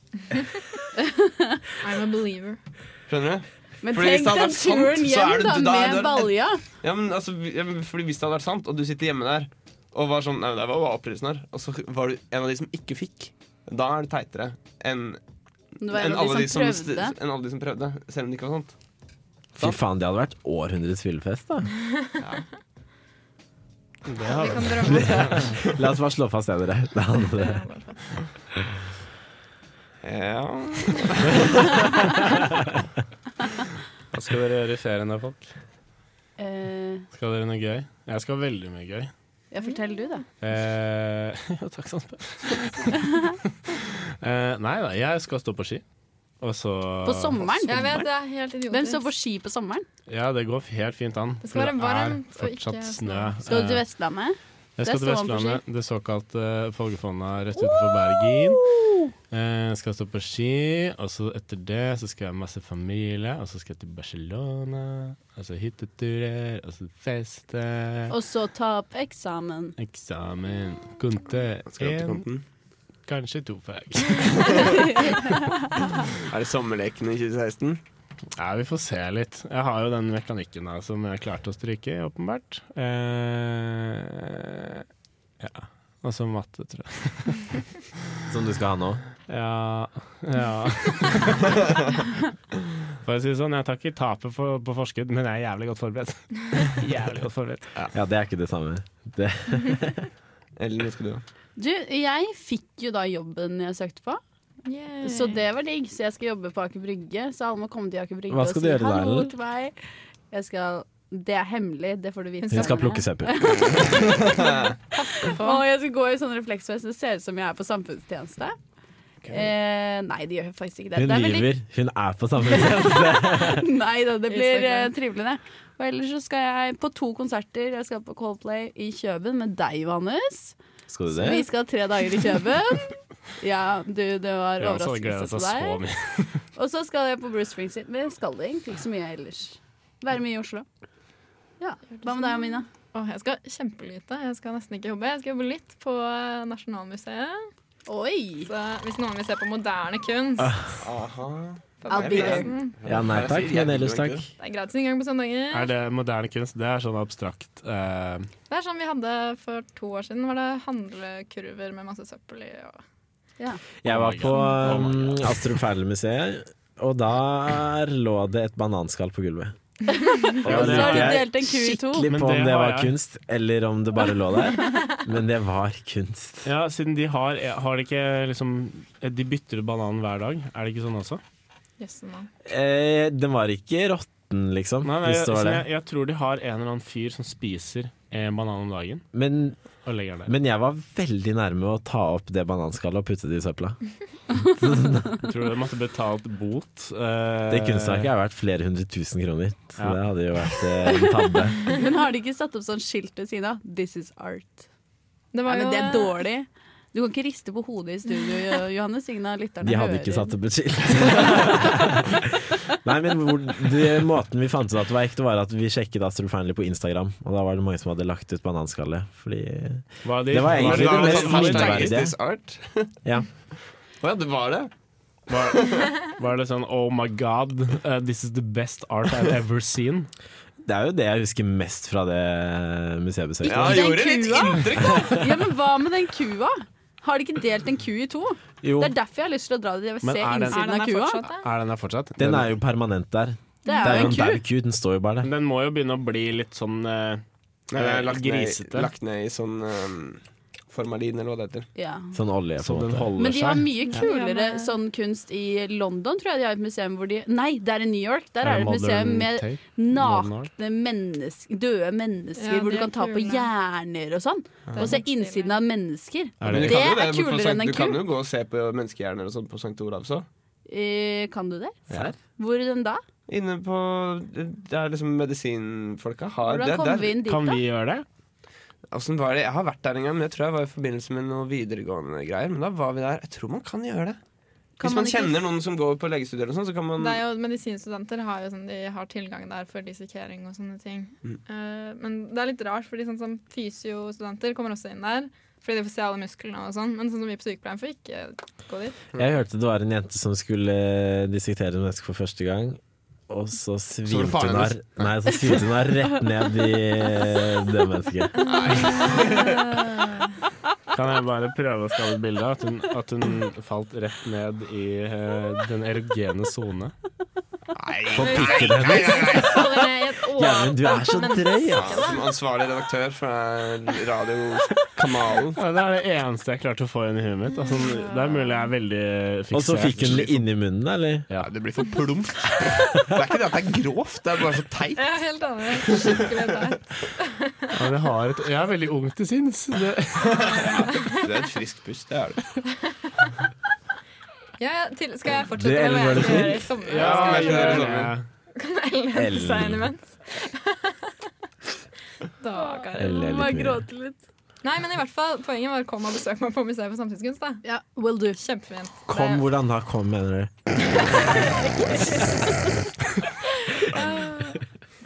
Speaker 3: I'm a believer.
Speaker 5: Skjønner du?
Speaker 2: Men
Speaker 5: Fordi hvis
Speaker 2: tenk
Speaker 5: det hadde
Speaker 2: den
Speaker 5: vært sant,
Speaker 2: turen
Speaker 5: så
Speaker 2: hjem,
Speaker 5: er det-
Speaker 2: da,
Speaker 5: da- da-
Speaker 2: med balja.
Speaker 5: Ja, men altså, vi- ja, men fordi Hvis det hadde vært sant, og du sitter hjemme der og var sånn Nei, men det var bare opprykksnår, og så var du en av de som ikke fikk, da er det teitere enn
Speaker 2: Det var
Speaker 5: enn
Speaker 2: en av de som prøvde.
Speaker 5: enn alle de som prøvde, selv om det ikke var sant.
Speaker 4: Fy faen, det hadde vært århundrets fyllefest, da.
Speaker 1: Det
Speaker 3: Vi
Speaker 1: har
Speaker 3: kan drømme oss
Speaker 4: La oss bare slå fast det, dere. Det hadde det.
Speaker 3: det.
Speaker 5: Ja.
Speaker 1: Hva skal dere gjøre i ferien da, folk?
Speaker 2: Eh,
Speaker 1: Skal dere noe gøy? Jeg skal veldig mye gøy.
Speaker 2: ja, fortell du, da.
Speaker 1: Eh, ja, takk som spør. eh, nei da, jeg skal stå på ski. Og så
Speaker 2: På sommeren?
Speaker 3: Jeg vet, det er helt idiotisk.
Speaker 2: Hvem står på ski på sommeren?
Speaker 1: Ja, det går helt fint an.
Speaker 3: Det skal være
Speaker 1: for
Speaker 3: varmt og
Speaker 1: er
Speaker 3: ikke
Speaker 1: fortsatt snø.
Speaker 3: snø.
Speaker 2: Skal du til
Speaker 1: Eh,
Speaker 2: Vestlandet?
Speaker 1: Jeg skal til
Speaker 2: Der står man på
Speaker 1: Vestlandet, det såkalte Folgefonna rett utenfor Bergen. Eh, Jeg skal stå på ski, og så etter det så skal jeg ha masse familie. Og så skal jeg til Barcelona, og så hytteturer, og så feste.
Speaker 2: Og så ta opp eksamen.
Speaker 1: Eksamen. Kunte
Speaker 5: Skal du til
Speaker 1: én,
Speaker 5: kanten?
Speaker 1: kanskje to fag.
Speaker 5: Er det sommerleken i 2016?
Speaker 1: Ja, vi får se litt. Jeg har jo den mekanikken da, som jeg klarte å stryke, i, åpenbart. Eh, ja. Og så matte, tror jeg.
Speaker 4: Som du skal ha nå.
Speaker 1: Ja, ja. For å si det sånn, jeg tar ikke tapet for, på forskudd, men jeg er jævlig godt forberedt. jævlig godt forberedt.
Speaker 4: Ja, det er ikke det samme. Det.
Speaker 5: Eller skal du ha?
Speaker 2: Du, jeg fikk jo da jobben jeg søkte på,
Speaker 3: Yay.
Speaker 2: så det var digg. Så jeg skal jobbe på Aker Brygge, så alle må komme til Aker Brygge
Speaker 4: Hva skal
Speaker 2: og si
Speaker 4: du gjøre der,
Speaker 2: hallo
Speaker 4: eller?
Speaker 2: til meg. Jeg skal Det er hemmelig, det får du vite.
Speaker 3: Hun
Speaker 4: Hun skal plukke søppel.
Speaker 2: Og jeg skal gå i sånn refleksvest, det ser ut som jeg er på samfunnstjeneste. Eh, nei, det gjør jeg faktisk ikke det.
Speaker 4: Hun
Speaker 2: det er veldig-
Speaker 4: lyver. Hun er på samme sted.
Speaker 2: Nei da, det blir eh,
Speaker 3: Instagram.
Speaker 2: trivelig, det. Og ellers så skal jeg på to konserter. Jeg skal på Coldplay i Kjøben med deg, Johannes.
Speaker 4: Skal du
Speaker 2: Vi
Speaker 4: det?
Speaker 2: skal tre dager i Kjøben. Ja, du, det var
Speaker 1: Jeg også gleder seg
Speaker 2: overraskelse til
Speaker 1: så
Speaker 2: deg.
Speaker 1: mye.
Speaker 2: Og så skal jeg på Bruce Springsteen. Men jeg skal det egentlig ikke så mye ellers. Være mye i Oslo. Ja. Hva med deg, Amina?
Speaker 3: Åh, jeg skal kjempelite. Jeg skal nesten ikke jobbe. Jeg skal jobbe litt på eh, Nasjonalmuseet.
Speaker 2: Oi!
Speaker 3: Så hvis noen vil se på moderne kunst
Speaker 5: Aha.
Speaker 3: på
Speaker 2: I'll be there.
Speaker 3: Bergplassen,
Speaker 4: Ja, nei takk, men ellers takk.
Speaker 3: Det er gratis inngang på søndager.
Speaker 1: Er det moderne kunst? Det er sånn abstrakt eh,
Speaker 3: Det er sånn vi hadde for to år siden, var det handlekurver med masse søppel i. Og
Speaker 2: Ja.
Speaker 4: Jeg var på
Speaker 1: Oh my God.
Speaker 4: um, Astrup Fearnley-museet, og der lå det et bananskall på gulvet. Og
Speaker 1: Ja,
Speaker 4: da
Speaker 1: men
Speaker 2: Så har du
Speaker 4: lurte jeg
Speaker 2: delt en ku i to.
Speaker 4: skikkelig
Speaker 1: Men
Speaker 4: på
Speaker 1: det
Speaker 4: om det
Speaker 1: har
Speaker 4: var
Speaker 1: jeg.
Speaker 4: kunst, eller om det bare lå der. Men det var kunst.
Speaker 1: Ja, siden de har eh, Har de ikke liksom De bytter ut bananen hver dag. Er det ikke sånn også?
Speaker 3: jøsse navn.
Speaker 4: Eh, den var ikke råtten, liksom,
Speaker 1: Nei, nei,
Speaker 4: hvis
Speaker 1: jeg,
Speaker 4: det var
Speaker 1: så
Speaker 4: det.
Speaker 1: jeg, jeg tror de har en eller annen fyr som spiser en banan om dagen
Speaker 4: Men,
Speaker 1: og legger den der.
Speaker 4: men jeg var veldig nærme å ta opp det bananskallet og putte det i søpla.
Speaker 1: Tror du de måtte betalt bot? eh,
Speaker 4: Det kunstverket er verdt flere hundre tusen kroner, så
Speaker 1: Ja.
Speaker 4: det hadde jo vært eh, en tabbe.
Speaker 2: Men har de ikke satt opp sånn skilt ved siden av? This is art.
Speaker 3: Det
Speaker 2: Nei,
Speaker 3: var
Speaker 2: men
Speaker 3: jo
Speaker 2: det er dårlig. Du kan ikke riste på hodet i studio, Jo- Johannes. Ingen av lytterne
Speaker 4: De
Speaker 2: hører.
Speaker 4: hadde ikke satt opp et skilt. Nei, men hvor, det, måten vi fant ut at det var ekte, var at vi sjekket Astrup Fearnley på Instagram. Og da var det mange som hadde lagt ut bananskallet. Fordi
Speaker 1: Var de,
Speaker 4: Det var
Speaker 5: Var det,
Speaker 4: egentlig det
Speaker 5: var det,
Speaker 4: mest
Speaker 5: sånn hashtag
Speaker 4: minneverdige.
Speaker 5: is this art?
Speaker 4: Ja.
Speaker 5: Å ja, det var det?
Speaker 1: Var, var det sånn Oh my god, uh, this is the best art I've ever seen.
Speaker 4: Det er jo det jeg husker mest fra det museebesøket.
Speaker 5: Ja,
Speaker 2: den
Speaker 5: gjorde litt
Speaker 2: kua.
Speaker 5: inntrykk, da!
Speaker 2: Ja, men hva med den kua? Har de ikke delt en ku i to?
Speaker 4: Jo,
Speaker 2: Det er derfor jeg har lyst til å dra dit. Jeg vil
Speaker 1: Men
Speaker 2: se
Speaker 1: er den-
Speaker 3: Er
Speaker 2: innsiden
Speaker 3: den
Speaker 2: av
Speaker 3: der
Speaker 2: kua.
Speaker 3: fortsatt, da?
Speaker 1: Er den der fortsatt?
Speaker 4: den er jo permanent der.
Speaker 2: Det
Speaker 4: Det er jo en
Speaker 2: en ku.
Speaker 4: dauk ut, den står jo bare der.
Speaker 1: Men Den må jo begynne å bli litt sånn eh,
Speaker 5: Nei, jeg har lagt ned,
Speaker 1: Grisete.
Speaker 5: lagt ned i sånn um, formalin, eller hva det heter.
Speaker 2: Ja.
Speaker 4: Sånn olje, på
Speaker 1: som
Speaker 4: en
Speaker 1: den
Speaker 4: måte.
Speaker 1: holder
Speaker 2: Men de har
Speaker 1: seg.
Speaker 2: mye kulere
Speaker 3: Ja.
Speaker 2: sånn kunst i London, tror jeg. De har et museum hvor de Nei, det er i New York. Der
Speaker 1: Er
Speaker 2: er
Speaker 1: det
Speaker 2: det et museum
Speaker 1: Modern
Speaker 2: med
Speaker 1: Tate? Modern Art?
Speaker 2: nakne mennesker, døde mennesker,
Speaker 3: Ja,
Speaker 2: hvor
Speaker 3: de
Speaker 2: du kan
Speaker 3: er
Speaker 2: ta på
Speaker 3: kule.
Speaker 2: hjerner og sånn.
Speaker 3: Det er
Speaker 2: Og se
Speaker 3: helt stilig.
Speaker 2: innsiden av mennesker.
Speaker 1: Er
Speaker 5: Men
Speaker 1: det-
Speaker 5: du
Speaker 2: det
Speaker 5: kan jo
Speaker 2: er
Speaker 5: på
Speaker 2: kulere
Speaker 5: Sankt-
Speaker 2: enn en
Speaker 5: Du kan
Speaker 2: ku.
Speaker 5: jo gå og se på menneskehjerner og sånn på St. Olavs òg.
Speaker 2: Eh, kan du det?
Speaker 5: Ja.
Speaker 2: Hvor den da?
Speaker 5: Inne på Det er liksom medisinfolka har
Speaker 2: Hvordan
Speaker 5: det,
Speaker 2: kom vi inn dit,
Speaker 1: Kan
Speaker 2: da?
Speaker 1: vi gjøre det?
Speaker 5: Hvordan var det? Jeg har vært der en gang, men jeg tror jeg var i forbindelse med noe videregående greier. Men da var vi der. Jeg tror man kan gjøre det.
Speaker 2: Kan
Speaker 5: Hvis man
Speaker 2: ikke-
Speaker 5: kjenner noen som går på legestudier, eller sånn, så kan man
Speaker 3: Det er jo, medisinstudenter har jo sånn, de har tilgang der for dissekering og sånne ting.
Speaker 2: Mm.
Speaker 3: Eh, men det er litt rart, fordi sånn som fysiostudenter kommer også inn der. Fordi de får se alle musklene og sånn. Men sånn som vi på sykepleien får ikke gå dit.
Speaker 4: Jeg hørte det var en jente som skulle eh, dissektere et menneske for første gang. Og så
Speaker 6: var det
Speaker 4: svimte
Speaker 6: faren
Speaker 4: hun av
Speaker 6: hennes?
Speaker 4: Nei, så svimte hun av rett ned i eh, det mennesket.
Speaker 1: Kan jeg bare prøve å skape et bilde av at hun, at hun falt rett ned i eh, den erogene sone?
Speaker 4: På pikken hennes.
Speaker 3: Faller ned i et
Speaker 4: Gjermund, du er så
Speaker 3: åpent
Speaker 4: drøy,
Speaker 5: ja,
Speaker 4: ja.
Speaker 5: Som ansvarlig redaktør for eh, radiokanalen.
Speaker 1: Ja, det er det eneste jeg klarte å få inn i huet mitt. Altså, det er mulig jeg er veldig fiksert.
Speaker 4: Og så fikk hun det inni munnen, eller?
Speaker 6: Nei, det blir for plumpt. Det er ikke det at det er grovt, det er bare så teit.
Speaker 3: Ja, helt enig. Skikkelig teit.
Speaker 1: Ja, det har et, jeg er veldig ung til sinns. Det,
Speaker 6: Det er et friskt pust, det er det.
Speaker 3: Ja, ja, til, skal jeg
Speaker 4: Du,
Speaker 3: fortsette
Speaker 4: Ellen, var
Speaker 3: med
Speaker 4: det
Speaker 3: hva jeg
Speaker 4: fint?
Speaker 3: gjør i sommer?
Speaker 1: ja,
Speaker 3: Skal
Speaker 5: men-
Speaker 3: jeg-
Speaker 1: gjør
Speaker 5: gjøre
Speaker 1: det.
Speaker 3: Kan Ellen hente seg inn imens? Dager.
Speaker 4: Eller
Speaker 2: Må jeg
Speaker 4: litt mer.
Speaker 2: gråte litt.
Speaker 3: Nei, men i hvert fall, poenget var kom og besøk meg på Museet for samtidskunst. da.
Speaker 2: Ja, will do.
Speaker 3: Kjempefint.
Speaker 4: Kom, hvordan da? Kom, mener du?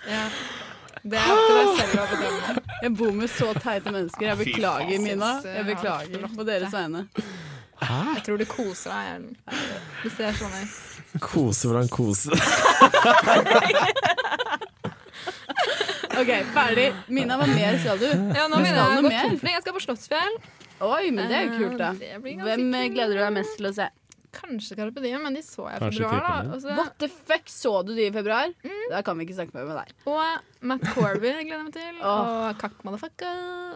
Speaker 3: Ja. Det er opp til deg selv å bedømme.
Speaker 2: Jeg bor med så teite mennesker. Jeg beklager, Mina.
Speaker 3: Synes, eh,
Speaker 2: Jeg beklager
Speaker 3: flotte.
Speaker 2: på deres vegne.
Speaker 3: Jeg tror du koser deg, Ellen. Du ser sånn ut.
Speaker 4: Kose, hvordan kose?
Speaker 2: OK, ferdig. Mina, hva mer skal du?
Speaker 3: Ja, nå
Speaker 2: Men skal
Speaker 3: begynner jeg å
Speaker 2: noe
Speaker 3: gå
Speaker 2: mer?
Speaker 3: tom for Jeg skal på Slottsfjell.
Speaker 2: Oi, men det er jo
Speaker 3: Eh,
Speaker 2: kult, da.
Speaker 3: det blir ganske
Speaker 2: Hvem eh,
Speaker 3: kult.
Speaker 2: gleder du deg mest til å se?
Speaker 3: Kanskje Carpe Diem, men de så jeg i
Speaker 1: Kanskje
Speaker 3: februar.
Speaker 1: typen
Speaker 3: da.
Speaker 1: din.
Speaker 3: Og, så,
Speaker 2: What the fuck, så du de i februar?
Speaker 3: Mm.
Speaker 2: Da kan vi ikke snakke mer med deg.
Speaker 3: og Matt Corby gleder jeg meg til.
Speaker 2: Åh.
Speaker 3: Og Kakk Madafakka.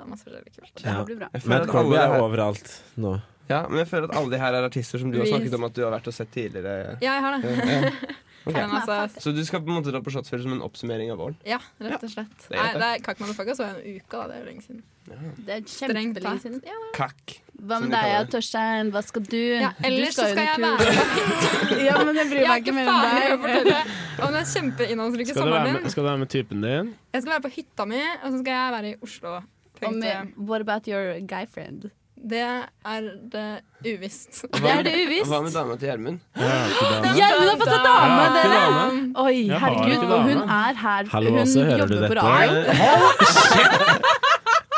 Speaker 3: og Masse forskjellig kult.
Speaker 2: Det
Speaker 4: Ja.
Speaker 2: her blir bra.
Speaker 5: Jeg føler
Speaker 4: Matt
Speaker 5: at
Speaker 4: Colby
Speaker 5: alle
Speaker 4: er
Speaker 5: her-
Speaker 4: overalt nå.
Speaker 5: Ja, men jeg føler at alle de her er artister som du har
Speaker 3: Vi-
Speaker 5: snakket om at du har vært og sett tidligere.
Speaker 3: Ja, jeg har det.
Speaker 5: Ok.
Speaker 3: Men altså,
Speaker 5: Så du skal på en måte dra på Slottsfjell som en oppsummering av våren?
Speaker 3: ja, rett og slett.
Speaker 5: er
Speaker 3: Nei,
Speaker 5: greit, det.
Speaker 3: det er Kakk Madafakka så jeg en uke, da. Det er jo lenge siden.
Speaker 2: Det er
Speaker 3: Strengt
Speaker 2: kjempelenge
Speaker 3: tatt.
Speaker 2: siden.
Speaker 3: Ja,
Speaker 5: Kakk.
Speaker 2: Hva med
Speaker 5: Som de
Speaker 2: deg, eh,
Speaker 5: kaller det.
Speaker 2: Torstein? Hva skal du?
Speaker 3: ja, ellers så skal jeg være
Speaker 2: være Ja, men jeg bryr
Speaker 3: Jeg
Speaker 2: meg
Speaker 3: har
Speaker 2: ikke
Speaker 3: ikke
Speaker 2: mer
Speaker 3: faen i å
Speaker 2: om deg.
Speaker 3: fortelle om den kjempeinnholdsrike
Speaker 1: Skal, du være
Speaker 3: sommeren
Speaker 1: med,
Speaker 3: din.
Speaker 1: skal du være med typen din?
Speaker 3: Jeg skal være på hytta mi, og så skal jeg være i Oslo.
Speaker 2: Og
Speaker 3: Punktum.
Speaker 2: med, eh, what about your guy friend?
Speaker 3: Det er det uvisst.
Speaker 2: Det er det uvisst.
Speaker 5: Hva med dama til Gjermund?
Speaker 2: Gjermund har fått seg dame,
Speaker 1: Ja,
Speaker 2: dere!
Speaker 1: dame.
Speaker 2: Oi,
Speaker 1: Jeg har
Speaker 2: herregud.
Speaker 1: ikke
Speaker 2: Og hun
Speaker 1: dame.
Speaker 2: er her.
Speaker 4: Hallo,
Speaker 2: hun
Speaker 4: også hører du
Speaker 2: jobber på
Speaker 4: dette?
Speaker 2: radio.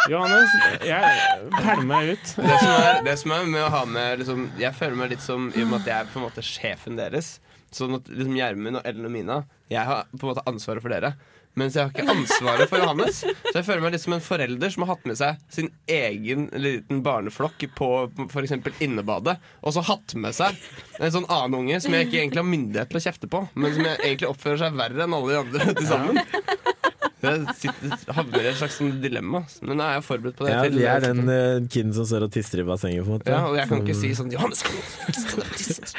Speaker 1: Johannes, jeg pælmer meg ut.
Speaker 5: Det som, er, det som er med å ha med liksom, Jeg føler meg litt som i og med at jeg er på en måte sjefen deres. Sånn at liksom Gjermund og Ellen og Mina Jeg har på en måte ansvaret for dere. Mens jeg har ikke ansvaret for Johannes. Så jeg føler meg litt som en forelder som har hatt med seg sin egen liten barneflokk på f.eks. innebadet. Og så hatt med seg en sånn annen unge som jeg ikke egentlig har myndighet til å kjefte på, men som jeg egentlig oppfører seg verre enn alle de andre til sammen. Jeg sitter, havner i et slags sånn dilemma. Men nå er jeg forberedt på det.
Speaker 4: Ja,
Speaker 5: til-
Speaker 4: vi er den eh, kiden som står og tisser i bassenget, på en måte.
Speaker 5: ja, og jeg kan ikke si sånn Johannes, skal du- skal du tisse?»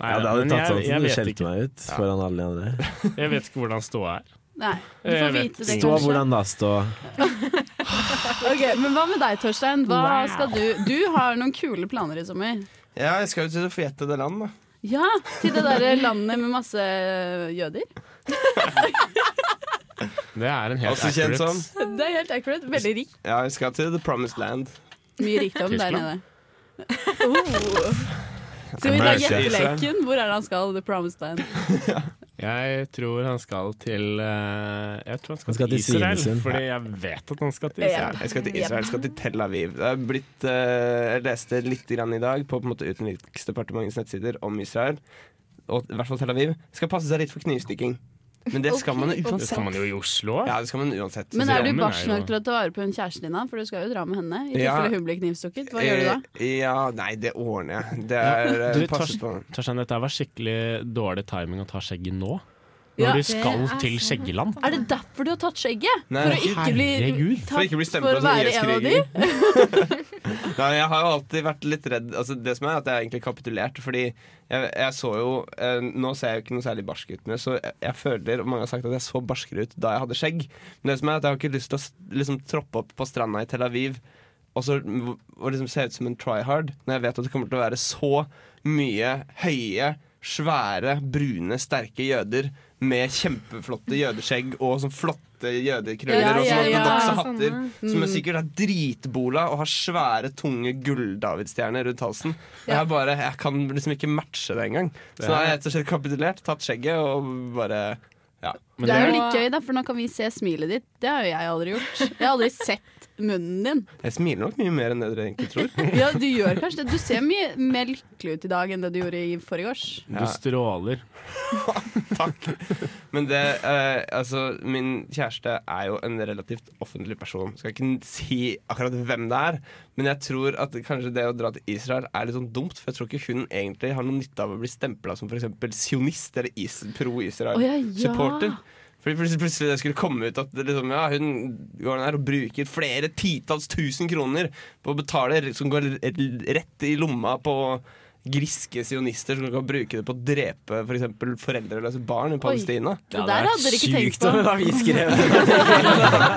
Speaker 1: Nei,
Speaker 4: Ja,
Speaker 1: men
Speaker 4: det
Speaker 1: jeg-
Speaker 4: hadde tatt sånn
Speaker 1: jeg
Speaker 4: som du
Speaker 1: vet
Speaker 4: skjelte
Speaker 1: ikke.
Speaker 4: meg ut foran alle de andre.
Speaker 1: Jeg vet ikke hvordan ståa er.
Speaker 2: Nei, du får
Speaker 1: Jeg vet.
Speaker 2: vite det,
Speaker 4: Stå
Speaker 2: kanskje.
Speaker 4: hvordan da, stå.
Speaker 2: Ok, men hva med deg, Torstein? Hva skal du Du har noen kule planer i sommer.
Speaker 5: Ja, jeg skal jo til det forjettede land, da.
Speaker 2: Ja, til det derre landet med masse jøder.
Speaker 1: Det er en helt
Speaker 5: Også kjent
Speaker 1: accurate.
Speaker 5: som
Speaker 2: Det er helt accurate. Veldig rikt.
Speaker 5: Ja, jeg skal til The Promised Land.
Speaker 2: Mye rikdom der nede.
Speaker 1: Tyskland.
Speaker 2: Oh. Skal vi ta
Speaker 4: America.
Speaker 2: gjetteleken? Hvor er det han skal? The Promised Land.
Speaker 1: Jeg tror han skal til eh, Jeg tror han skal,
Speaker 4: Han skal
Speaker 1: til
Speaker 4: til
Speaker 1: Israel,
Speaker 4: Svinesund.
Speaker 1: fordi jeg vet at han skal til
Speaker 2: Ja.
Speaker 1: Israel.
Speaker 5: Jeg skal til Israel, jeg skal til Tel Aviv. Det er blitt, eh, jeg leste litt grann i dag på, på en måte Utenriksdepartementets nettsider om Israel. Og i hvert fall Tel Aviv. Skal passe seg litt for knivstikking. Men det skal man jo
Speaker 1: Det skal
Speaker 5: uansett.
Speaker 1: man jo i Oslo.
Speaker 5: Ja, det skal man uansett.
Speaker 2: Men
Speaker 1: Så
Speaker 2: er du
Speaker 1: jammen er
Speaker 2: barsk
Speaker 1: jo-
Speaker 2: nok til å ta vare på hun kjæresten din, da? for du skal jo dra med henne i
Speaker 5: Ja.
Speaker 2: tilfelle hun blir knivstukket? Hva gjør du da?
Speaker 5: Eh, Ja, nei, det ordner jeg. Det er
Speaker 1: Du,
Speaker 5: eh, passe
Speaker 1: Tors-
Speaker 5: på.
Speaker 1: Torstein, dette var skikkelig dårlig timing å ta skjegget nå. Når
Speaker 2: Ja.
Speaker 1: du skal
Speaker 3: er
Speaker 1: til
Speaker 3: sant.
Speaker 1: skjeggeland.
Speaker 2: Er det derfor du har tatt skjegget?
Speaker 5: Nei,
Speaker 2: For å ikke bli
Speaker 1: herregud.
Speaker 5: For å
Speaker 2: tatt
Speaker 5: ikke bli stemt
Speaker 2: for å
Speaker 5: på som
Speaker 2: være en av de?
Speaker 5: IS-kriger. Nei, jeg har jo alltid vært litt redd altså, Det som er at jeg har egentlig kapitulert Fordi jeg, jeg så jo eh, Nå ser jeg jo ikke noe særlig barsk ut med Så jeg, jeg føler, og mange har sagt at jeg så barskere ut Da jeg hadde skjegg Men det som er at jeg har ikke lyst til å s- liksom, troppe opp på stranda i Tel Aviv Og så og liksom se ut som en tryhard Når jeg vet at det kommer til å være så mye høye svære, brune, sterke jøder med kjempeflotte jødeskjegg og sånn flotte jødekrøller
Speaker 2: Ja,
Speaker 5: og
Speaker 2: ja,
Speaker 5: sånne
Speaker 2: ja.
Speaker 5: ortodokse hatter.
Speaker 3: Sånne.
Speaker 5: Som er sikkert er dritbola og har svære, tunge gull-davidstjerner rundt halsen. Og jeg bare, jeg kan liksom ikke matche det engang. Så nå har jeg rett og slett kapitulert, tatt skjegget og bare Ja.
Speaker 1: Men
Speaker 2: det er jo
Speaker 1: det-
Speaker 2: litt gøy, da, for nå kan vi se smilet ditt. Det har jo jeg aldri gjort. Jeg har aldri sett munnen din.
Speaker 5: Jeg smiler nok mye mer enn det dere egentlig tror.
Speaker 2: Ja, Du gjør kanskje det. Du ser mye mer lykkelig ut i dag enn det du gjorde i forgårs.
Speaker 1: Du stråler.
Speaker 5: Takk. Men det eh, Altså, min kjæreste er jo en relativt offentlig person. Skal ikke si akkurat hvem det er, men jeg tror at kanskje det å dra til Israel er litt sånn dumt. For jeg tror ikke hun egentlig har noen nytte av å bli stempla som f.eks. sionist eller is
Speaker 2: Å ja, ja.
Speaker 5: pro-Israel-supporter. Fordi plutselig, plutselig det skulle komme ut at det liksom, ja, hun går ned og bruker flere titalls tusen kroner på å betale som går r- rett i lomma på griske sionister som kan bruke det på å drepe for eksempel foreldreløse barn i Palestina.
Speaker 2: Det der hadde dere ikke tenkt
Speaker 4: sjukt om en
Speaker 2: på.
Speaker 4: avis skrev det.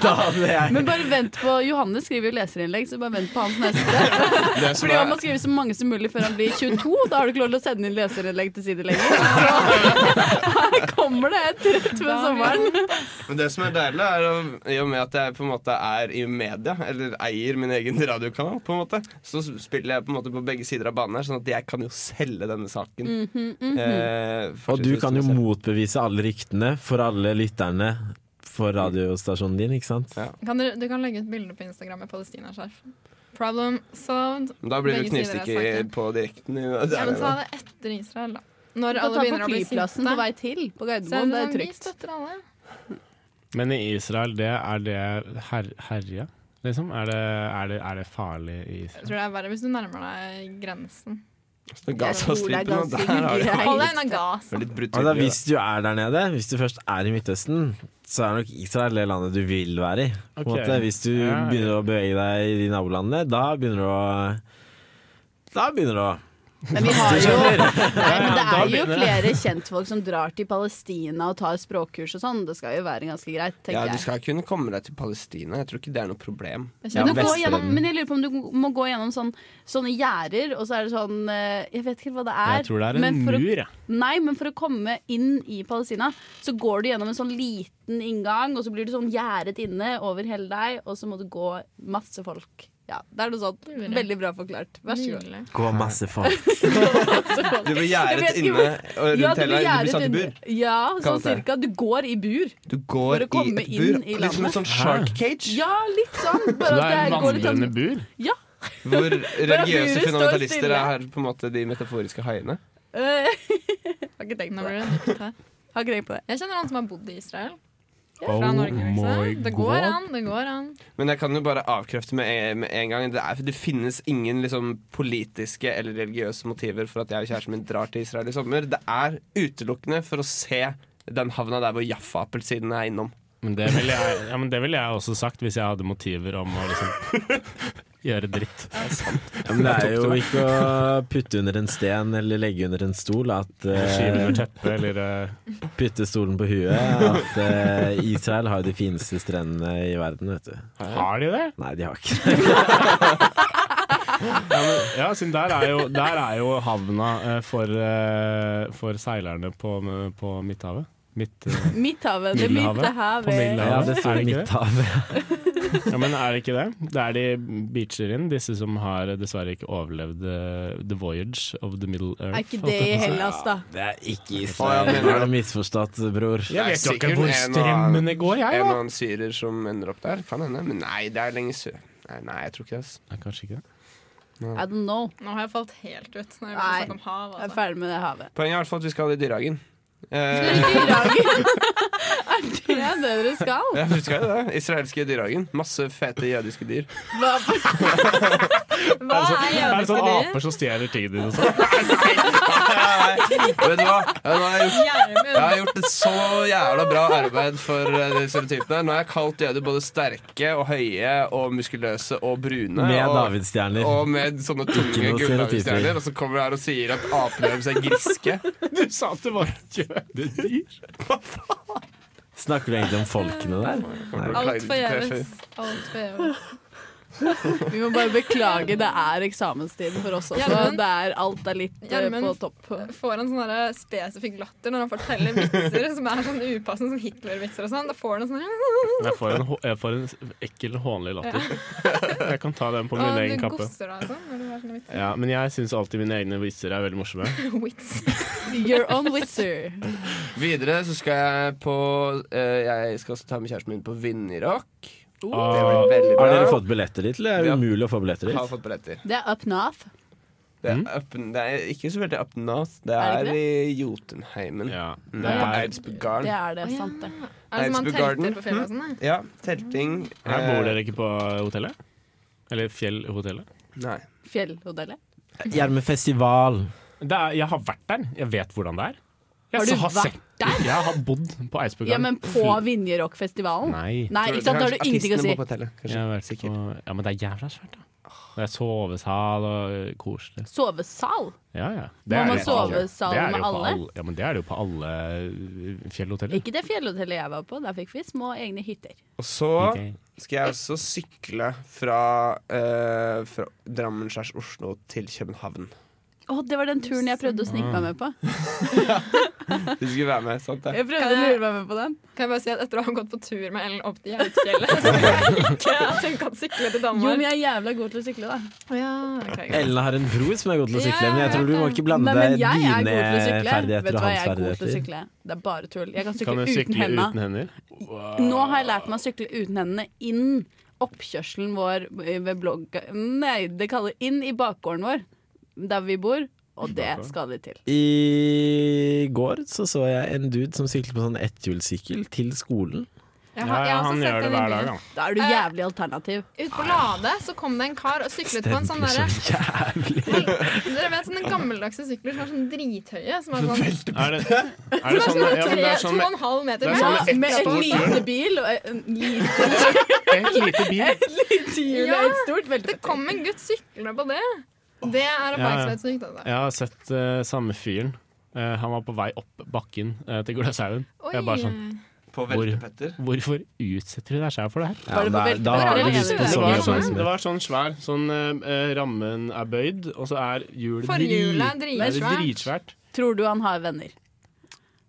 Speaker 4: Da hadde jeg
Speaker 2: Men bare vent på Johannes skriver jo leserinnlegg, så bare vent på hans neste.
Speaker 5: Det som
Speaker 2: Fordi han må
Speaker 5: er,
Speaker 2: skrive så mange som mulig før han blir 22. Da har du ikke lov til å sende inn leserinnlegg til side lenger. Så Her kommer det et rett ved sommeren.
Speaker 5: men det som er deilig, er å- i og med at jeg på en måte er i media, eller eier min egen radiokanal, på en måte, så spiller jeg på en måte på begge sider av banen her, sånn at jeg kan jo selge denne saken.
Speaker 2: Mhm,
Speaker 5: Eh,
Speaker 4: Og du
Speaker 5: fortsatt
Speaker 4: kan jo
Speaker 5: som jeg
Speaker 4: motbevise alle ryktene for alle lytterne for radiostasjonen din, ikke sant?
Speaker 5: Ja.
Speaker 3: Kan du, du kan legge ut bilder på Instagram med palestinaskjerf. Problem solved.
Speaker 5: ser. Men Da blir du
Speaker 3: Begge sider av
Speaker 5: knivstikker
Speaker 3: saken.
Speaker 5: på direkten. i-
Speaker 3: Ja, men ta det etter Israel, da.
Speaker 2: Du
Speaker 3: Når
Speaker 2: kan
Speaker 3: alle
Speaker 2: ta på
Speaker 3: begynner å bli
Speaker 2: flyplassen på vei til på
Speaker 3: Så er
Speaker 2: Gardermoen.
Speaker 3: det
Speaker 2: Det er
Speaker 3: sånn, vi
Speaker 2: trygt.
Speaker 3: støtter alle.
Speaker 1: Men i Israel, det er det her, herja? Liksom? Er det, er, det, er det farlig i
Speaker 3: Jeg
Speaker 1: Israel?
Speaker 3: tror det er verre hvis du nærmer deg grensen.
Speaker 5: Så
Speaker 2: Jeg
Speaker 5: Gazastripen,
Speaker 2: tror
Speaker 5: og
Speaker 2: det er ganske
Speaker 5: der har du
Speaker 2: greit.
Speaker 3: Hold deg unna gas.
Speaker 5: det er litt brutt.
Speaker 4: Og da, hvis du er der nede, hvis du først er i Midtøsten, så er nok Israel det landet du vil være i. På en
Speaker 1: Ok.
Speaker 4: måte, hvis du
Speaker 1: Ja, ja.
Speaker 4: begynner å bevege deg i de nabolandene, da begynner du å Da begynner du å
Speaker 2: Men vi har jo Nei, men det
Speaker 1: da
Speaker 2: er jo
Speaker 1: begynner
Speaker 2: flere kjentfolk som drar til Palestina og tar språkkurs og sånn. Det skal jo være ganske greit,
Speaker 5: Ja,
Speaker 2: tenker
Speaker 5: du
Speaker 2: jeg.
Speaker 5: skal kunne komme deg til Palestina. Jeg tror ikke det er noe problem.
Speaker 3: Det er
Speaker 4: Ja,
Speaker 2: Men, du
Speaker 3: kjempe-
Speaker 2: går
Speaker 4: Vestbredden.
Speaker 2: gjennom, men jeg lurer på om du må gå gjennom sånn, sånne gjerder, og så er det sånn eh, Jeg vet ikke hva det er.
Speaker 1: Jeg tror det er en
Speaker 2: men for å-
Speaker 1: mur, jeg.
Speaker 2: Nei, men for å komme inn i Palestina, så går du gjennom en sånn liten inngang, og så blir du sånn gjerdet inne over hele deg, og så må du gå masse folk. Ja, det er noe sånt. Veldig bra forklart. Vær så god.
Speaker 3: Nydelig.
Speaker 4: gå masse folk.
Speaker 5: Du blir
Speaker 2: Jeg vet
Speaker 5: gjerdet
Speaker 2: ikke
Speaker 5: inne og
Speaker 2: Ja, du
Speaker 5: rundt hele
Speaker 2: blir
Speaker 5: Du blir
Speaker 2: gjerdet
Speaker 5: satt i bur.
Speaker 2: inne. Ja,
Speaker 5: Kan
Speaker 2: sånn
Speaker 5: det.
Speaker 2: cirka. Du går i bur.
Speaker 5: Du går
Speaker 2: For å
Speaker 5: i
Speaker 2: komme
Speaker 5: et bur.
Speaker 2: inn i
Speaker 5: Litt som en
Speaker 2: landet.
Speaker 5: sånn shark cage.
Speaker 2: Ja, litt sånn.
Speaker 1: Så
Speaker 2: Bare
Speaker 1: det er
Speaker 2: at det
Speaker 1: en
Speaker 2: går litt
Speaker 1: vandrende
Speaker 2: sånn
Speaker 1: bur?
Speaker 2: Ja.
Speaker 5: Hvor
Speaker 2: buret
Speaker 5: religiøse
Speaker 2: står
Speaker 5: fundamentalister
Speaker 2: stille.
Speaker 5: er her på en måte de metaforiske haiene.
Speaker 2: eh, Har ikke tenkt
Speaker 3: Nå
Speaker 2: på det.
Speaker 3: blir det dypt her.
Speaker 2: Har ikke tenkt på det.
Speaker 3: Jeg kjenner han som har bodd i Israel.
Speaker 1: Oh
Speaker 3: Fra Norge, liksom. Det
Speaker 1: god.
Speaker 3: går an, det går an.
Speaker 5: Men jeg kan jo bare avkrefte med en, med en gang. Det, er, det finnes ingen liksom, politiske eller religiøse motiver for at jeg og kjæresten min drar til Israel i sommer. Det er utelukkende for å se den havna der hvor Jaffa-appelsinene er innom.
Speaker 1: Men det, ville jeg, ja, men det ville jeg også sagt hvis jeg hadde motiver om å liksom gjøre dritt.
Speaker 4: Ja, men det er jo ikke å putte under en sten eller legge under en stol at
Speaker 1: Skyve
Speaker 4: eh,
Speaker 1: under teppet eller eh,
Speaker 4: Putte stolen på huet. At eh, Israel har jo de fineste strendene i verden, vet du.
Speaker 1: Har de det?
Speaker 4: Nei, de har ikke det.
Speaker 1: Ja, men, ja siden der er jo, der er jo havna eh, for, eh, for seilerne på, på Midthavet. Midt, eh,
Speaker 2: Midthavet. Det
Speaker 1: Middelhavet.
Speaker 2: begynte her
Speaker 1: På Middelhavet.
Speaker 2: ved
Speaker 4: Ja, det
Speaker 1: Er
Speaker 4: står
Speaker 1: det
Speaker 4: i
Speaker 1: ikke det?
Speaker 4: Midthavet.
Speaker 1: ja, men er det ikke det? Det er de beacher inn, disse som har dessverre ikke overlevd eh, the voyage of the middle earth.
Speaker 2: Er ikke
Speaker 1: holdt
Speaker 2: det
Speaker 1: jeg
Speaker 2: i
Speaker 1: på å si.
Speaker 2: Hellas, da?
Speaker 4: Det er
Speaker 5: Å,
Speaker 4: ikke
Speaker 5: ja,
Speaker 4: Israel.
Speaker 5: mener
Speaker 4: Du
Speaker 5: du?
Speaker 4: har misforstått, bror.
Speaker 1: Jeg vet
Speaker 5: Det er
Speaker 1: jo ikke
Speaker 5: sikkert
Speaker 1: hvor
Speaker 5: en og annen-
Speaker 1: strømmene går,
Speaker 5: En
Speaker 1: jeg,
Speaker 5: og
Speaker 1: da.
Speaker 5: annen syrer som ender opp der. Kan hende. Men nei, det er lenger sør. Nei, nei, jeg tror ikke det. ass.
Speaker 1: Nei, kanskje ikke.
Speaker 2: I don't know.
Speaker 3: Nå har jeg falt helt ut. Når jeg
Speaker 2: Nei.
Speaker 3: snakker om hav,
Speaker 2: Jeg er
Speaker 3: altså.
Speaker 2: ferdig med det havet.
Speaker 5: Poenget er i hvert fall at vi skal i Dyrehagen. Eh,
Speaker 2: Dyrehagen! Er det det dere skal?
Speaker 5: ja, vi skal jo det. Israelske Dyrehagen. Masse fete jødiske dyr.
Speaker 2: Hva,
Speaker 3: Hva er
Speaker 1: Er det
Speaker 3: jødiske
Speaker 1: sånn
Speaker 3: dyr?
Speaker 1: aper som stjeler tingene dine og sånn?
Speaker 5: Nei, vet du hva? Ja, Nå har jeg, gjort, jeg
Speaker 3: Gjermund.
Speaker 5: har gjort et så jævla bra arbeid for eh, disse stereotypene. Nå har jeg kalt jøder både sterke og høye og muskuløse og brune.
Speaker 4: Med
Speaker 5: og,
Speaker 4: davidsstjerner.
Speaker 5: og med sånne tunge
Speaker 4: noe stereotyper.
Speaker 5: gulldagsstjerner. Og så kommer du her og sier at apene deres er griske.
Speaker 1: Du sa at det var et jødedyr.
Speaker 4: Snakker du egentlig om folkene der?
Speaker 5: Kommer til å
Speaker 3: Alt
Speaker 5: klage til
Speaker 3: forgjeves.
Speaker 5: PFU.
Speaker 3: Alt forgjeves.
Speaker 2: Vi må bare beklage, det er eksamenstid for oss også.
Speaker 3: Gjermund?
Speaker 2: Det er, alt er litt eh,
Speaker 3: Gjermund?
Speaker 2: på topp.
Speaker 3: Får han sånn der spesifikk latter når han forteller vitser som er sånn upassende, sånn Hitler-vitser og sånn. Da får han sånn
Speaker 1: Jeg får en, hå- jeg får en ekkel, hånlig latter. Jeg kan ta den på min
Speaker 3: «Å,
Speaker 1: egen
Speaker 3: Du
Speaker 1: kappe.
Speaker 3: gosser deg, sånn. Når du har sånne vitser.
Speaker 1: Ja, men jeg syns alltid mine egne vitser er veldig morsomme.
Speaker 3: Wits.
Speaker 2: Your own witzer.
Speaker 5: Videre så skal jeg på eh, Jeg skal også ta med kjæresten min på Vinjerock. Det
Speaker 1: Ah.
Speaker 5: blir veldig bra.
Speaker 4: Har dere fått billetter dit, eller er det
Speaker 5: Ja.
Speaker 4: umulig å få billetter
Speaker 5: Har
Speaker 4: dit?
Speaker 5: fått billetter.
Speaker 2: Det er up north.
Speaker 5: Det er,
Speaker 1: Mm.
Speaker 5: up, det er ikke så veldig up north. Det
Speaker 2: Er
Speaker 5: er,
Speaker 2: det ikke
Speaker 5: i Jotunheimen.
Speaker 1: Ja,
Speaker 5: Mm,
Speaker 1: det
Speaker 5: På
Speaker 1: er,
Speaker 2: Det
Speaker 5: Eidsbugarden.
Speaker 2: er det, sant det.
Speaker 3: Er det som han
Speaker 5: Eidsbue Garden.
Speaker 3: telter på fjellet og sånn? da?
Speaker 5: Ja, telting.
Speaker 1: her bor
Speaker 5: eh,
Speaker 1: dere ikke på hotellet? Eller Fjellhotellet?
Speaker 5: Nei.
Speaker 2: Fjellhotellet.
Speaker 4: Gjermefestival.
Speaker 1: Det er, jeg har vært der. Jeg vet hvordan det er. Jeg
Speaker 2: Har du
Speaker 1: har
Speaker 2: vært der?
Speaker 1: Jeg har bodd på Eidsbugarden.
Speaker 2: Ja, men på Vinjerockfestivalen?
Speaker 1: Nei.
Speaker 2: Nei, ikke sant, da har du ingenting å si.
Speaker 5: Artistene bor på hotellet,
Speaker 1: Jeg har vært
Speaker 5: kanskje.
Speaker 1: på,
Speaker 5: Sikkert.
Speaker 1: ja, men det er jævla svært, da. Det er sovesal og eh, koselig.
Speaker 2: Sovesal?
Speaker 1: Ja, ja.
Speaker 2: Må
Speaker 1: er
Speaker 2: man
Speaker 1: det jo på alle-
Speaker 2: sovesal
Speaker 1: det er det
Speaker 2: med
Speaker 1: jo på
Speaker 2: alle?
Speaker 1: Ja, men det er det jo på alle eh, fjellhoteller.
Speaker 2: Ikke det fjellhotellet jeg var på, der fikk vi små egne hytter.
Speaker 5: Og så
Speaker 1: Ok.
Speaker 5: skal jeg også sykle fra, eh, fra Drammen slash Oslo til København.
Speaker 2: Å, det var den turen jeg prøvde å snike meg med på.
Speaker 5: Du skulle være med, sant det?
Speaker 2: Jeg prøvde å lure meg med på den.
Speaker 3: Kan jeg bare si at Etter å ha gått på tur med Ellen opp til Jautfjellet, så kan jeg ikke tenke at sykle til
Speaker 2: Jo, men
Speaker 3: Danmark.
Speaker 2: jeg er jævla god til å sykle, da.
Speaker 3: Å ja, ok, greit.
Speaker 4: Ellen har en bror som er god til å sykle, men jeg tror du må ikke blande
Speaker 2: Nei, men jeg er
Speaker 4: dine
Speaker 2: god til å sykle. Vet
Speaker 4: ferdigheter
Speaker 2: du hva,
Speaker 4: og
Speaker 2: jeg
Speaker 4: hans
Speaker 2: er god til å
Speaker 4: ferdigheter.
Speaker 2: sykle. Det er bare tull. Jeg kan
Speaker 1: Kan
Speaker 2: sykle
Speaker 1: du
Speaker 2: uten
Speaker 1: sykle
Speaker 2: henda.
Speaker 1: uten hender?
Speaker 2: Nå har jeg lært meg å sykle uten hendene inn oppkjørselen vår eh, ved blogg... Nei, det kaller inn i bakgården vår, der vi bor. Og det skal litt til.
Speaker 4: I går så, så jeg en dude som syklet på sånn etthjulssykkel til skolen.
Speaker 3: Jeg
Speaker 1: Ja,
Speaker 3: har- jeg
Speaker 1: ja,
Speaker 3: har også
Speaker 1: han
Speaker 3: sett
Speaker 1: gjør det
Speaker 3: den i
Speaker 1: hver
Speaker 3: byen.
Speaker 1: dag, han.
Speaker 2: Da er du
Speaker 3: Eh,
Speaker 2: jævlig alternativ.
Speaker 3: Ut på Lade så kom det en kar og syklet på en sånn derre Dere vet sånne gammeldagse sykler som er sånn drithøye? Som er sånn
Speaker 1: Er det, er det sånn ja, men det er sånn
Speaker 3: tre, to og en halv meter
Speaker 1: det er
Speaker 3: høy.
Speaker 1: sånn-
Speaker 3: Ja,
Speaker 1: med-
Speaker 2: Med en lite bil og en liten
Speaker 1: Et lite bil.
Speaker 2: lite hjul og et stort
Speaker 3: Det
Speaker 2: veldig
Speaker 3: kom en gutt syklende på det. Det er oppmerksomhetssykt. Altså.
Speaker 1: Jeg har sett eh, samme fyren. Eh, han var på vei opp bakken eh, til Gløshaugen. Jeg er bare sånn
Speaker 5: På
Speaker 1: Hvor-
Speaker 5: Veltepetter.
Speaker 1: Hvorfor utsetter du deg sjæl for det her?
Speaker 4: Ja,
Speaker 2: Var det på
Speaker 4: da,
Speaker 2: veltebrett,
Speaker 4: da har du
Speaker 3: eller?
Speaker 4: lyst på
Speaker 3: Det
Speaker 1: Det
Speaker 4: så
Speaker 1: var,
Speaker 4: mye
Speaker 1: sånn, det
Speaker 4: oppmerksomhet.
Speaker 1: var sånn svær. Sånn eh, rammen er bøyd, og så er hjulet
Speaker 3: Forhjulet er
Speaker 1: drit- det er
Speaker 3: dritsvært.
Speaker 1: dritsvært.
Speaker 2: Tror du han har venner?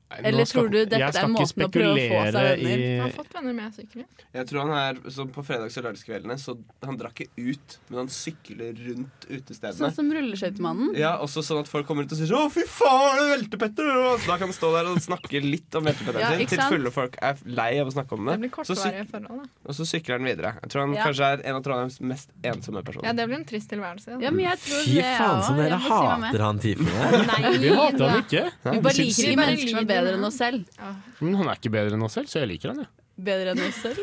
Speaker 1: Nei,
Speaker 2: Eller
Speaker 1: nå skal-
Speaker 2: tror du dette
Speaker 1: jeg skal
Speaker 2: er
Speaker 1: ikke
Speaker 2: måten å prøve å få seg
Speaker 1: spekulere
Speaker 3: Jeg har
Speaker 1: i-
Speaker 3: fått venner med sykler.
Speaker 5: Jeg tror han er så på fredags- og lørdagskveldene, så han drakk ikke ut, men han sykler rundt utestedene.
Speaker 2: Sånn som rulleskøytemannen?
Speaker 5: Ja, også sånn at folk kommer ut og sier 'Å, fy faen, er det Veltepetter?' Og så Da kan han stå der og snakke litt om
Speaker 2: Ja,
Speaker 5: veltepetteren sin
Speaker 2: ikke
Speaker 5: til
Speaker 2: sant?
Speaker 5: fulle folk er lei av å snakke om det.
Speaker 3: Det blir
Speaker 5: Så syk-
Speaker 3: kortvarige forhold. Da.
Speaker 5: og så sykler han videre. Jeg tror han
Speaker 2: Ja.
Speaker 5: kanskje er en av Trondheims mest ensomme
Speaker 3: Ja,
Speaker 5: personer.
Speaker 3: det blir en trist tilværelse.
Speaker 2: Ja, men jeg tror
Speaker 4: Fy
Speaker 2: det, jeg
Speaker 4: faen,
Speaker 2: også.
Speaker 4: som
Speaker 2: Jeg
Speaker 4: dere
Speaker 2: må si meg med.
Speaker 4: hater han typen der.
Speaker 3: Nei,
Speaker 1: Vi hater han ikke.
Speaker 2: Vi bare liker ikke mennesker som er bedre enn oss selv.
Speaker 1: Men han er ikke bedre enn oss selv, så jeg liker han, jeg.
Speaker 2: Bedre enn oss selv?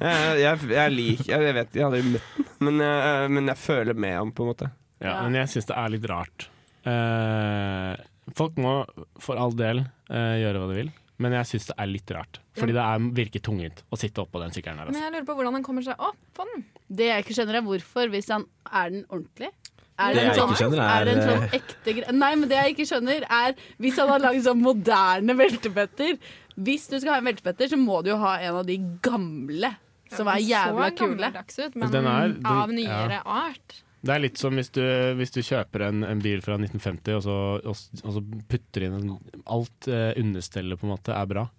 Speaker 5: Jeg, jeg, jeg liker jeg, jeg vet jeg hadde jo møtt den, men, eh, men jeg føler med ham, på en måte.
Speaker 1: Ja,
Speaker 2: Ja.
Speaker 1: Men jeg syns det er litt rart. Eh, folk må for all del eh, gjøre hva de vil, men jeg syns det er litt rart. Fordi det er, virker tungvint å sitte oppå den sykkelen der.
Speaker 3: Men
Speaker 1: Altså.
Speaker 3: jeg lurer på hvordan han kommer seg opp på den.
Speaker 2: Det jeg ikke skjønner er hvorfor, hvis han er den ordentlig. Er
Speaker 4: Det
Speaker 2: en
Speaker 4: jeg
Speaker 2: sånn-
Speaker 4: ikke skjønner er- eh,
Speaker 2: er det en sånn ekte gre Nei, men det jeg ikke skjønner er Hvis han har lagd sånn moderne veltepetter Hvis du skal ha en veltepetter, så må du jo ha en av de gamle som er jævla
Speaker 3: så
Speaker 2: kule.
Speaker 3: gammeldags ut, men
Speaker 1: Den er- den-
Speaker 3: av nyere art.
Speaker 1: Det er litt som hvis du, hvis du kjøper en, en bil fra 1950, og så, og, s- og så putter inn en, alt eh, understellet på en måte er bra.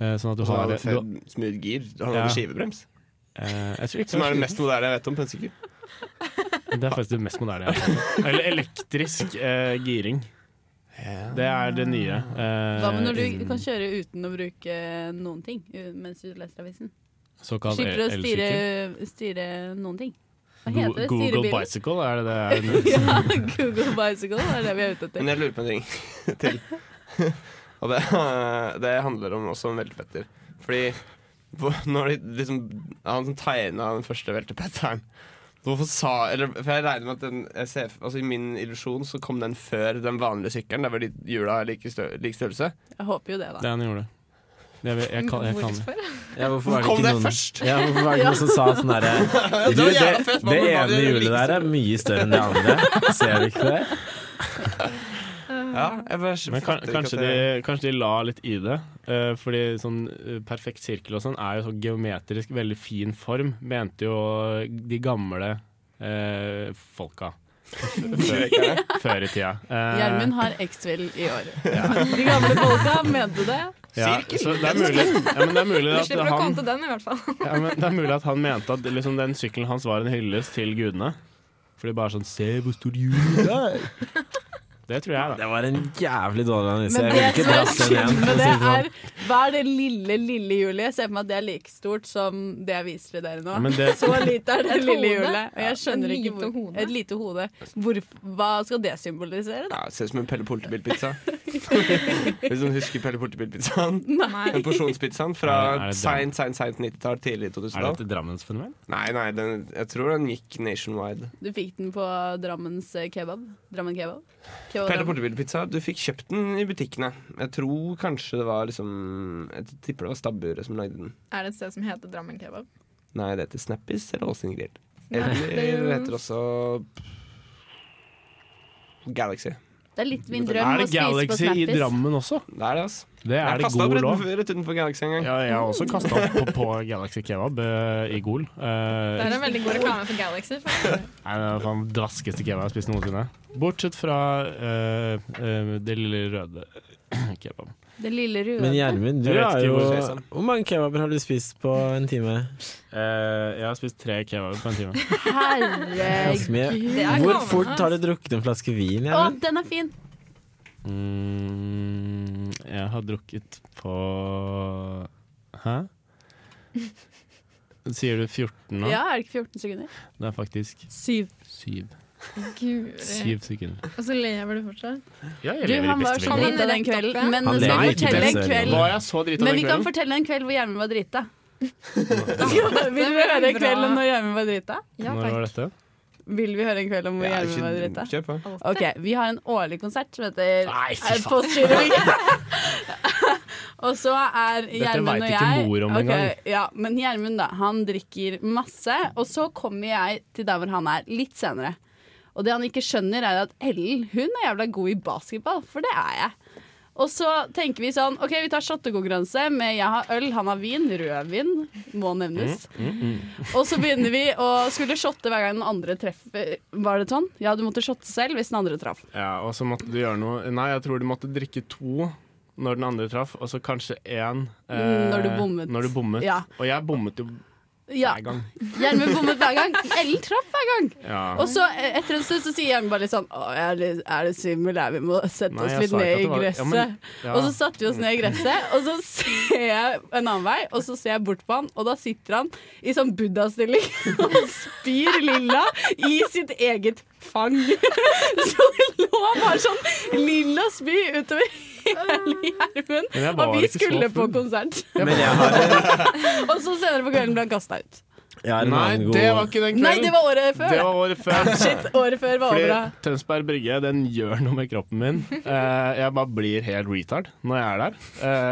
Speaker 1: Eh, sånn at du
Speaker 5: Så
Speaker 1: har
Speaker 5: hadde
Speaker 1: du,
Speaker 5: Fed smooth gir. Han
Speaker 1: Ja.
Speaker 5: hadde skivebrems.
Speaker 1: eh, jeg tror ikke
Speaker 5: Som er det mest moderne jeg vet om på en sykkel.
Speaker 1: Det er faktisk det mest moderne jeg har sett. Eller elektrisk eh, giring. Det er det nye. eh,
Speaker 2: Hva med når du
Speaker 1: innen
Speaker 2: kan kjøre uten å bruke noen ting u- mens du leser avisen?
Speaker 1: såkalt
Speaker 2: Slipper å
Speaker 1: el-
Speaker 2: styre,
Speaker 1: elsykkel.
Speaker 2: styre noen ting. Hva
Speaker 1: Go-
Speaker 2: heter det?
Speaker 1: Google
Speaker 2: Styrebilen?
Speaker 1: Bicycle, er det det er det? nye?
Speaker 2: Ja, Google Bicycle er det vi er ute etter.
Speaker 5: Men jeg lurer på en ting til. Og det, det handler om også om veltepetter. Fordi hvor- når de liksom Han som tegna den første veltepetteren Hvorfor sa eller, For jeg regner med at den jeg ser- altså, I min illusjon så kom den før den vanlige sykkelen. Der hvor de hjula er like, stø, lik størrelse.
Speaker 2: Jeg håper jo det,
Speaker 1: Det
Speaker 2: da.
Speaker 1: han gjorde. Jeg, vet- jeg, kan, jeg kan det.
Speaker 3: Hvorfor?
Speaker 4: Ja, hvorfor var det
Speaker 5: Kom
Speaker 4: ikke
Speaker 5: det
Speaker 4: noen,
Speaker 5: først?
Speaker 4: Ja, hvorfor var det ikke noen som sa sånn derre Du, det,
Speaker 5: jævla fett,
Speaker 4: det
Speaker 5: man må bare
Speaker 4: ene
Speaker 5: gjøre det
Speaker 4: hjulet
Speaker 5: like
Speaker 4: der er mye større enn det andre. Ser du ikke det?
Speaker 3: Eh,
Speaker 5: Ja, jeg bare
Speaker 1: Men kan,
Speaker 5: fatter ikke at
Speaker 1: kanskje, de,
Speaker 5: det-
Speaker 1: kanskje de la litt i det. eh, fordi sånn eh, perfekt sirkel og sånn er jo sånn geometrisk veldig fin form, mente jo de gamle eh, folka. Før, før i tida. Eh,
Speaker 2: Gjermund har X-Fill i år. De gamle folka mente det.
Speaker 1: ja, så det er mulig, ja, men det er mulig
Speaker 3: Du
Speaker 1: at
Speaker 3: slipper å komme
Speaker 1: han,
Speaker 3: til den, i hvert fall.
Speaker 1: ja, men det er mulig at han mente at liksom, den sykkelen hans var en hyllest til gudene. Fordi bare sånn Se hvor stor jul er! Det tror jeg, da.
Speaker 4: Det var en jævlig dårlig analyse.
Speaker 2: Men det
Speaker 4: Jeg ville ikke
Speaker 2: som er
Speaker 4: dratt den igjen.
Speaker 2: synd
Speaker 4: for å
Speaker 2: med det,
Speaker 4: si det sånn.
Speaker 2: er hva er det lille, lille hjulet? Jeg ser for meg at det er like stort som det jeg viser til dere nå.
Speaker 1: Ja, men det,
Speaker 2: Så lite er det
Speaker 3: Et
Speaker 2: lille
Speaker 3: hode.
Speaker 2: hjulet. Og jeg skjønner
Speaker 3: Et
Speaker 2: ikke
Speaker 3: lite
Speaker 2: hvor
Speaker 3: hode.
Speaker 2: Et lite hode. Hvorf- hva skal det symbolisere, da?
Speaker 5: Ja, det ser ut som en Pelle Poltebil-pizza. Hvis du husker Pelle Poltebil-pizzaen. Den
Speaker 3: Nei.
Speaker 5: porsjonspizzaen
Speaker 1: Er det- er
Speaker 5: fra
Speaker 1: det
Speaker 5: seint, seint, seint 90-tall, tidlig
Speaker 1: er det
Speaker 5: 2000-tall.
Speaker 1: et Drammensfenomen?
Speaker 5: Nei, nei, den, jeg tror den gikk nationwide.
Speaker 2: Du fikk den på Drammens eh, kebab? Drammen kebab? Kebab
Speaker 5: Pelle
Speaker 2: Drammen.
Speaker 5: Poltebil-pizza, du fikk kjøpt den i butikkene. Jeg tror kanskje det var liksom Jeg tipper det var stabburet som lagde den.
Speaker 3: Er det et sted som heter Drammen kebab?
Speaker 5: Nei, det heter Snappis eller Åsen Grill. Eller det heter også Galaxy.
Speaker 2: Det er litt min drøm
Speaker 1: Er
Speaker 2: å
Speaker 1: det
Speaker 2: spise på
Speaker 1: Galaxy i
Speaker 2: Snappis.
Speaker 1: Drammen også?
Speaker 5: Det er det, altså.
Speaker 1: Det er
Speaker 5: Jeg
Speaker 1: det
Speaker 5: kasta opp
Speaker 1: god
Speaker 5: rett,
Speaker 1: lov.
Speaker 5: rett utenfor Galaxy en gang.
Speaker 1: Ja, jeg har også kasta opp på, på Galaxy Kebab eh, i Gol. Eh,
Speaker 3: Det er en veldig god reklame for Galaxy. faktisk.
Speaker 1: nei, det er den dvaskeste kebaben jeg har spist noensinne. Bortsett fra eh, eh, det lille røde kebaben.
Speaker 2: Det lille
Speaker 4: Men
Speaker 2: røde.
Speaker 4: Gjermund, du
Speaker 1: Jeg vet
Speaker 4: har
Speaker 1: ikke
Speaker 4: jo
Speaker 1: hvor-
Speaker 4: Hvor mange kebaber har du spist på en time?
Speaker 1: Eh, jeg har spist tre kebaber på en time.
Speaker 4: Ganske mye.
Speaker 2: Herregud.
Speaker 3: Det er
Speaker 4: Hvor
Speaker 3: klovnene.
Speaker 4: fort har du drukket en flaske vin,
Speaker 2: Å,
Speaker 4: Gjermund?
Speaker 2: den er fin!
Speaker 1: Mm, jeg har drukket på Hæ? Sier du 14 nå?
Speaker 2: Ja, er det ikke 14 sekunder?
Speaker 1: Det er faktisk
Speaker 2: Syv.
Speaker 1: syv.
Speaker 3: Guri.
Speaker 1: Syv sekunder.
Speaker 3: Og så lever du fortsatt.
Speaker 1: Ja, jeg
Speaker 2: Du,
Speaker 1: lever i
Speaker 2: han var
Speaker 1: beste
Speaker 2: så
Speaker 1: velgående.
Speaker 2: drita den kvelden. Men
Speaker 4: Han
Speaker 2: skal
Speaker 4: lever
Speaker 2: vi
Speaker 4: ikke
Speaker 2: fortelle en
Speaker 4: best
Speaker 2: kveld
Speaker 1: Var jeg så drita
Speaker 2: Men
Speaker 1: den
Speaker 2: vi kan
Speaker 1: kvelden?
Speaker 2: fortelle en kveld hvor Gjermund var drita. Vil vi høre en kveld om når Gjermund var drita?
Speaker 1: Når
Speaker 3: Ja,
Speaker 1: var
Speaker 3: takk.
Speaker 1: dette?
Speaker 2: Vil vi høre en kveld om hvor Gjermund var drita?
Speaker 5: Kjør på.
Speaker 2: Ok, Vi har en årlig konsert som heter
Speaker 1: Nei, fy
Speaker 2: eh,
Speaker 1: faen.
Speaker 2: Postgirobygget. og så er Gjermund
Speaker 1: vet
Speaker 2: og
Speaker 1: ikke
Speaker 2: jeg
Speaker 1: mor om
Speaker 2: Ok,
Speaker 1: engang.
Speaker 2: Ja, Men Gjermund da, han drikker masse, og så kommer jeg til der hvor han er litt senere. Og det han ikke skjønner, er at Ellen hun er jævla god i basketball, for det er jeg. Og så tenker vi sånn OK, vi tar shottekonkurranse med jeg har øl, han har vin. Rødvin må nevnes.
Speaker 1: Mm,
Speaker 2: Og så begynner vi å skulle shotte hver gang den andre treffer. Var det sånn? Ja, du måtte shotte selv hvis den andre traff.
Speaker 1: Ja, og så måtte du gjøre noe Nei, jeg tror du måtte drikke to når den andre traff, og så kanskje én
Speaker 2: Mm, når du bommet.
Speaker 1: Når du bommet.
Speaker 2: Ja.
Speaker 1: Og jeg bommet jo hver
Speaker 2: Ja,
Speaker 1: gang.
Speaker 2: Gjermund bommet hver gang. Ellen traff hver gang.
Speaker 1: Ja.
Speaker 2: Og så eh, etter en stund så sier Gjermund bare litt sånn Å, jeg er litt, er litt svimmel, jeg. Vi må sette
Speaker 1: Nei,
Speaker 2: oss
Speaker 1: jeg
Speaker 2: litt
Speaker 1: sa ikke
Speaker 2: ned
Speaker 1: at
Speaker 2: i
Speaker 1: det var-
Speaker 2: gresset.
Speaker 1: Ja, men- ja.
Speaker 2: Og så satte vi oss ned i gresset, og så ser jeg en annen vei, og så ser jeg bort på han, og da sitter han i sånn buddha-stilling og spyr lilla i sitt eget fang. Så det lå bare sånn lilla spy utover hele
Speaker 1: Men jeg
Speaker 2: Gjermund,
Speaker 1: var
Speaker 2: og
Speaker 1: ikke
Speaker 2: vi
Speaker 1: så
Speaker 2: skulle på
Speaker 1: full.
Speaker 2: konsert.
Speaker 4: Men jeg har,
Speaker 2: Og så senere på kvelden ble han kasta ut.
Speaker 4: jeg har en
Speaker 1: Nei,
Speaker 4: annen
Speaker 1: det var
Speaker 4: god
Speaker 1: ikke den kvelden.
Speaker 2: Nei, det var året før.
Speaker 1: Det var året før.
Speaker 2: Shit, året før var
Speaker 1: Fordi
Speaker 2: bra.
Speaker 1: Tønsberg Brygge den gjør noe med kroppen min. Eh, jeg bare blir helt retard når jeg er der.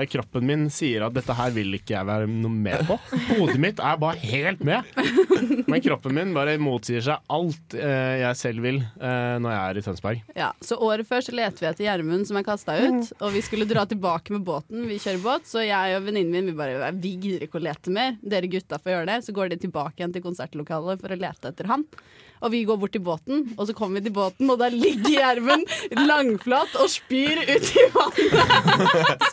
Speaker 1: Eh, kroppen min sier at dette her vil ikke jeg være noe med på. Hodet mitt er bare helt med. Men kroppen min bare motsier seg alt eh, jeg selv vil eh, når jeg er i Tønsberg.
Speaker 2: Ja, så året før så lette vi etter Gjermund som er kasta
Speaker 4: Mhm.
Speaker 2: ut, og vi skulle dra tilbake med båten. Vi kjører båt, så jeg og venninnen min vi bare vi gidder ikke å lete mer. Dere gutta får gjøre det. Så går de tilbake igjen til konsertlokalet for å lete etter han. Og vi går bort til båten, og så kommer vi til båten, og der ligger Gjermund langflat og spyr ut i vannet.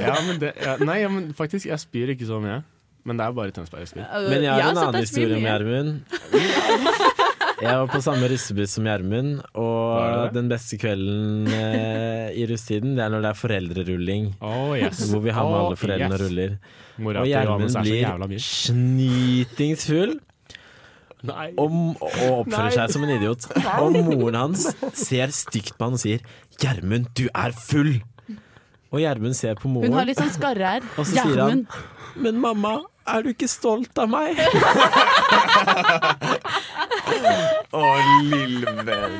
Speaker 1: Ja, men det, ja, nei, ja, men faktisk, jeg spyr ikke så mye. Men det er bare i Tønsberg jeg spyr.
Speaker 4: Men jeg har en
Speaker 2: sett
Speaker 4: annen
Speaker 2: deg spy
Speaker 4: historie om
Speaker 2: mye.
Speaker 4: Gjermund. Jeg var på samme russebuss som Gjermund,
Speaker 1: Var det
Speaker 4: og
Speaker 1: det?
Speaker 4: den beste kvelden eh, i russetiden, det er når det er foreldrerulling.
Speaker 1: Oh, yes.
Speaker 4: Hvor vi har med
Speaker 1: Å,
Speaker 4: alle foreldrene
Speaker 1: yes.
Speaker 4: og ruller.
Speaker 1: Mora
Speaker 4: Og
Speaker 1: til Johannes
Speaker 4: Gjermund
Speaker 1: er så jævla
Speaker 4: blir
Speaker 1: mye.
Speaker 4: snytingsfull
Speaker 1: Nei.
Speaker 4: og, og oppfører seg som en idiot. Og moren hans ser stygt på han og sier 'Gjermund, du er full'! Og Gjermund ser på
Speaker 2: Hun har
Speaker 4: moren,
Speaker 2: litt sånn skarre her.
Speaker 4: og så sier han
Speaker 2: Gjermund.
Speaker 4: 'Men mamma, er du ikke stolt av meg?'
Speaker 5: Å, lille venn.